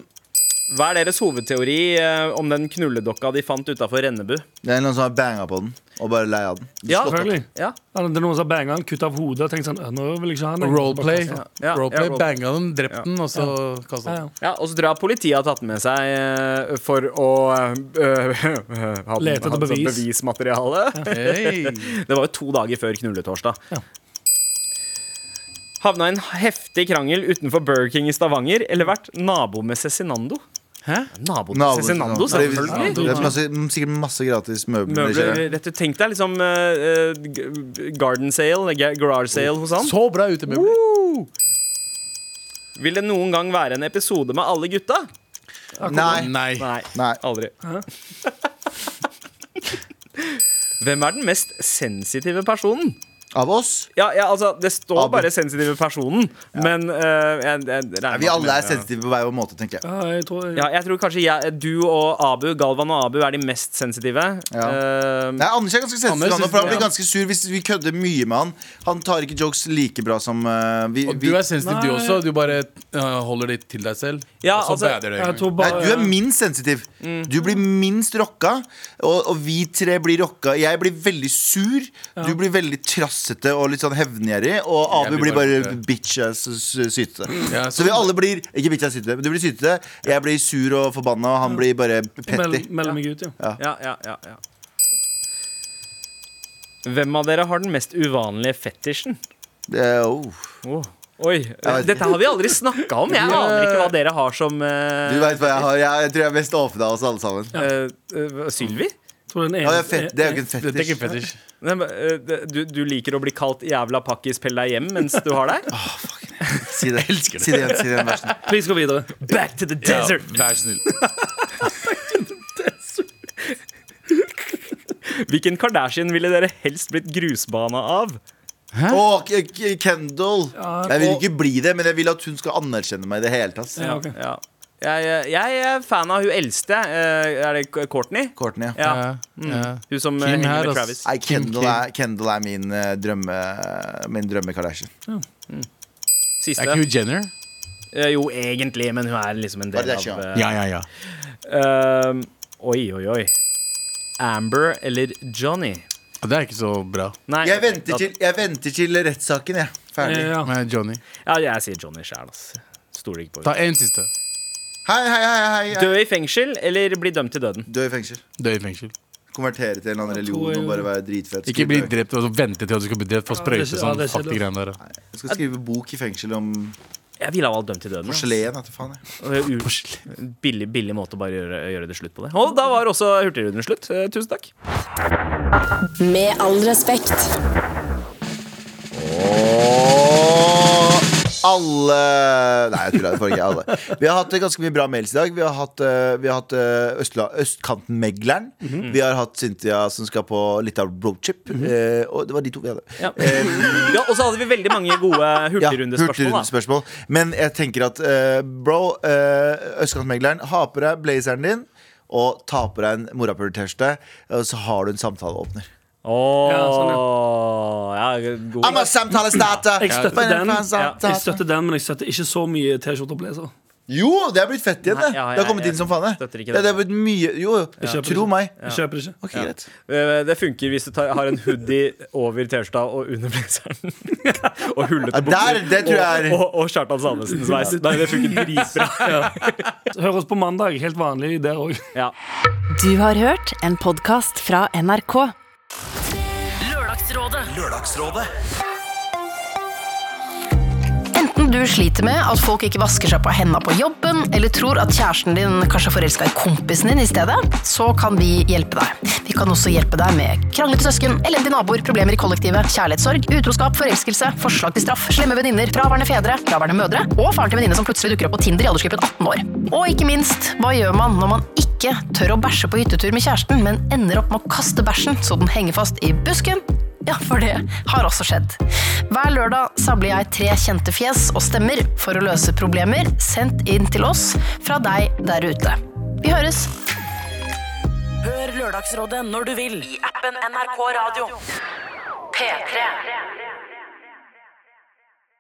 [SPEAKER 2] hva er deres hovedteori eh, om den knulledokka de fant utafor Rennebu?
[SPEAKER 3] Det er noen som har banga på den og bare lei av den.
[SPEAKER 2] Ja,
[SPEAKER 4] Selvfølgelig.
[SPEAKER 2] Ja,
[SPEAKER 4] Ja, Det er noen som har banga den, kutta av hodet og tenkt sånn «Øh, Nå vil jeg ikke ha den.
[SPEAKER 5] Roleplay.
[SPEAKER 2] Ja, ja, ja,
[SPEAKER 5] Roleplay,
[SPEAKER 2] role-
[SPEAKER 5] Banga den, drept den, og så kastet
[SPEAKER 4] Ja,
[SPEAKER 5] den.
[SPEAKER 4] ja.
[SPEAKER 2] ja, Og så tror jeg politiet har tatt den med seg eh, for å eh, ha den- ha
[SPEAKER 4] Lete etter
[SPEAKER 2] den som
[SPEAKER 4] bevis.
[SPEAKER 2] bevismateriale.
[SPEAKER 5] Hey.
[SPEAKER 2] Det var jo to dager før knulletorsdag. Havna i en heftig krangel utenfor Burger King i Stavanger, eller vært nabo med Cezinando?
[SPEAKER 5] Hæ?
[SPEAKER 2] Nabo med
[SPEAKER 3] Naboen-
[SPEAKER 2] Cezinando,
[SPEAKER 3] Det er-
[SPEAKER 2] selvfølgelig.
[SPEAKER 3] Det er masse, sikkert masse gratis møbler. i
[SPEAKER 2] Møbler,
[SPEAKER 3] kjelleren.
[SPEAKER 2] rett ut. Tenk deg liksom eh, eh, g- garden sale, ga- garage sale hos han.
[SPEAKER 5] Så bra utemøbler.
[SPEAKER 2] Vil det noen gang være en episode med alle gutta?
[SPEAKER 3] Nei.
[SPEAKER 5] Nei.
[SPEAKER 2] Nei,
[SPEAKER 3] Nei.
[SPEAKER 2] aldri. Hvem er den mest sensitive personen?
[SPEAKER 3] Av oss?
[SPEAKER 2] Ja, ja altså, Det står
[SPEAKER 3] Abu.
[SPEAKER 2] bare 'sensitive personen', men eh, jeg, jeg, regner
[SPEAKER 3] Vi alle er
[SPEAKER 2] med-
[SPEAKER 3] sensitive på hver vår måte, tenker jeg.
[SPEAKER 4] Ja, jeg tror jeg,
[SPEAKER 2] Ja, jeg tror kanskje jeg, du og Abu, Galvan og Abu er de mest sensitive. Eh,
[SPEAKER 3] Nei, Anders er ganske sensitiv,
[SPEAKER 5] Anders
[SPEAKER 3] han, også, for han
[SPEAKER 5] synes-
[SPEAKER 3] blir ganske sur hvis vi kødder mye med han. Han tar ikke jokes like bra som eh, vi,
[SPEAKER 5] Og
[SPEAKER 3] vi
[SPEAKER 5] du er sensitiv, du
[SPEAKER 4] Nei.
[SPEAKER 5] også. Du bare eh, holder det til deg selv.
[SPEAKER 2] Ja,
[SPEAKER 5] og
[SPEAKER 2] altså,
[SPEAKER 5] så bader
[SPEAKER 4] jeg
[SPEAKER 5] det.
[SPEAKER 4] tror
[SPEAKER 3] Nei,
[SPEAKER 4] bare
[SPEAKER 3] du er minst sensitiv. Du blir minst rocka, og, og vi tre blir rocka. Jeg blir veldig sur, du blir veldig trassete og litt sånn hevngjerrig, og Abu
[SPEAKER 5] blir
[SPEAKER 3] blir bare
[SPEAKER 5] bare
[SPEAKER 3] bitch-sytete.
[SPEAKER 5] Ja,
[SPEAKER 3] Så vi alle blir ikke bitch-sytete, men du blir sytete. Jeg blir sur og forbanna, og han blir bare petty.
[SPEAKER 4] meld, melder meg ut, ja.
[SPEAKER 2] ja, ja, ja, ja. Hvem av dere har den mest uvanlige fetisjen?
[SPEAKER 3] Eh, oh.
[SPEAKER 2] Åh, Oi, eh,
[SPEAKER 3] vet ikke.
[SPEAKER 2] Dette har vi aldri snakka om. Jeg aner ikke hva dere har som
[SPEAKER 3] Du
[SPEAKER 2] uh,
[SPEAKER 3] veit hva jeg har. Jeg, jeg tror jeg er mest åpen av oss alle sammen.
[SPEAKER 2] eh, Sylvi?
[SPEAKER 4] Tror den
[SPEAKER 3] Ja,
[SPEAKER 4] ene-
[SPEAKER 3] det, er fet, det er jo ikke en
[SPEAKER 5] Dette er ikke en
[SPEAKER 3] fetisj.
[SPEAKER 5] fetisj.
[SPEAKER 2] Nei, men, eh, Du, du liker å bli kalt 'jævla pakkis, pell deg hjem' mens du har deg?
[SPEAKER 3] Si det. Si det igjen. Si det igjen, vær så snill.
[SPEAKER 4] Ah. Please gå videre.
[SPEAKER 2] Back to the
[SPEAKER 5] Ja,
[SPEAKER 2] desert!
[SPEAKER 5] vær så snill.
[SPEAKER 2] Hvilken Kardashian ville dere helst blitt grusbana av?
[SPEAKER 3] Å, K- K- Kendall.
[SPEAKER 4] Ja,
[SPEAKER 3] Jeg vil
[SPEAKER 4] og-
[SPEAKER 3] ikke bli det, men jeg vil at hun skal anerkjenne meg i det hele tatt.
[SPEAKER 4] Ja, ok.
[SPEAKER 2] Ja. Jeg, jeg, jeg er fan av hun eldste. eh, Er det K- Courtney?
[SPEAKER 3] Courtney, ja.
[SPEAKER 2] Ja.
[SPEAKER 4] Mm.
[SPEAKER 5] Ja.
[SPEAKER 2] Hun som eh,
[SPEAKER 5] Kim
[SPEAKER 2] henger
[SPEAKER 5] her,
[SPEAKER 2] med
[SPEAKER 5] ass.
[SPEAKER 2] Travis.
[SPEAKER 3] Nei, Kendall
[SPEAKER 5] Kim.
[SPEAKER 3] er, Kendall er min eh, drømme Min drømme Kardashian.
[SPEAKER 5] Er ikke
[SPEAKER 2] Siste.
[SPEAKER 5] hun Jenner?
[SPEAKER 2] Eh, Jo, egentlig, men hun er liksom en del av
[SPEAKER 3] Kardashian.
[SPEAKER 2] eh,
[SPEAKER 5] Ja, ja, ja.
[SPEAKER 2] eh, Oi, oi, oi. Amber eller Johnny?
[SPEAKER 5] Og Det er ikke så bra.
[SPEAKER 2] Nei,
[SPEAKER 3] Jeg
[SPEAKER 2] ok, da-
[SPEAKER 3] venter til, jeg venter til rettssaken, jeg. Ferdig.
[SPEAKER 4] Ja, ja.
[SPEAKER 5] Men Johnny.
[SPEAKER 2] Ja, jeg sier Johnny sjæl, ass. Stoler ikke på
[SPEAKER 5] Ta
[SPEAKER 2] det.
[SPEAKER 5] en siste.
[SPEAKER 3] Hei, hei, hei, hei, hei.
[SPEAKER 2] Dø i fengsel eller bli dømt til døden?
[SPEAKER 3] Dø i fengsel.
[SPEAKER 5] Dø i fengsel.
[SPEAKER 3] Konvertere til en eller annen
[SPEAKER 4] tror
[SPEAKER 3] religion
[SPEAKER 4] jeg-
[SPEAKER 3] og bare være dritfett.
[SPEAKER 5] Ikke bli
[SPEAKER 3] Skrive-
[SPEAKER 5] drept og så vente til at du skal bli drept for
[SPEAKER 4] det er
[SPEAKER 5] sprøyte.
[SPEAKER 4] ikke- ja,
[SPEAKER 5] Sånn
[SPEAKER 4] det er
[SPEAKER 5] fuck de
[SPEAKER 4] ikke
[SPEAKER 5] greiene der.
[SPEAKER 3] Jeg skal skrive bok i fengsel om
[SPEAKER 2] Jeg ville ha valgt dømt til døden. ass.
[SPEAKER 3] geleen. vet du faen, jeg.
[SPEAKER 2] Eh, u- Billig, billig måte å bare gjøre, gjøre det slutt på det. Og da var også Hurtigrunden slutt. Eh, Tusen takk.
[SPEAKER 6] Med all respekt.
[SPEAKER 3] Åh, alle Nei, jeg tuller. det får ikke alle. Vi har hatt eh, ganske mye bra mails i dag. Vi har hatt, eh, vi har hatt eh, Østla, Østkanten-megleren.
[SPEAKER 4] Mhm.
[SPEAKER 3] Vi har hatt Cynthia som skal på litt av roadchip. eh, og det var de to vi hadde. Eh,
[SPEAKER 2] Ja. Eh, ja, og så hadde vi veldig mange gode hurtigrundespørsmål. da.
[SPEAKER 3] hurtigrundespørsmål. Men jeg tenker at eh, bro, eh, Østkantmegleren, ha på deg blazeren din. Og ta på deg en morapuler-T-skjorte, og så har du en samtaleåpner.
[SPEAKER 2] Åh,
[SPEAKER 4] Ja, sånn,
[SPEAKER 2] ja, god.
[SPEAKER 3] I'm a samtalestarter!
[SPEAKER 4] Jeg støtter
[SPEAKER 3] Men-
[SPEAKER 4] den, jeg støtter den men jeg støtter ikke så mye T-skjorter og blazer.
[SPEAKER 3] Jo, det er blitt fett igjen, det.
[SPEAKER 2] Nei, ja,
[SPEAKER 3] det har
[SPEAKER 2] jeg-
[SPEAKER 3] kommet
[SPEAKER 2] jeg
[SPEAKER 3] inn som faen. det.
[SPEAKER 2] støtter ikke
[SPEAKER 3] Ja,
[SPEAKER 2] det.
[SPEAKER 3] det har blitt mye Jo, jo.
[SPEAKER 4] kjøper
[SPEAKER 3] tro
[SPEAKER 4] det.
[SPEAKER 3] meg.
[SPEAKER 4] Jeg kjøper det ikke.
[SPEAKER 3] Ok, greit.
[SPEAKER 2] Eh, Det funker hvis du tar, har en hoodie over T-skjorta og under blazeren. og hullete
[SPEAKER 3] Ja, der, det tror jeg er-
[SPEAKER 2] Og, og, og Kjartan Sandnesens sveis. Nei, det funker dritbra.
[SPEAKER 4] Hør oss på mandag, helt vanlig der òg.
[SPEAKER 2] Ja.
[SPEAKER 1] Du har hørt en podkast fra NRK.
[SPEAKER 8] Enten du sliter med at folk ikke vasker seg på hendene på jobben, eller tror at kjæresten din kanskje er forelska i kompisen din i stedet, så kan vi hjelpe deg. Vi kan også hjelpe deg med kranglete søsken, elendige naboer, problemer i kollektivet, kjærlighetssorg, utroskap, forelskelse, forslag til straff, slemme venninner, fraværende fedre, fraværende mødre og faren til venninne som plutselig dukker opp på Tinder i aldersgruppen 18 år. Og ikke minst, hva gjør man når man ikke tør å bæsje på hyttetur med kjæresten, men ender opp med å kaste bæsjen så den henger fast i busken? Ja, for det har også skjedd. Hver lørdag samler jeg tre kjente fjes og stemmer for å løse problemer sendt inn til oss fra deg der ute. Vi høres!
[SPEAKER 9] Hør Lørdagsrådet når du vil i appen NRK Radio. P3.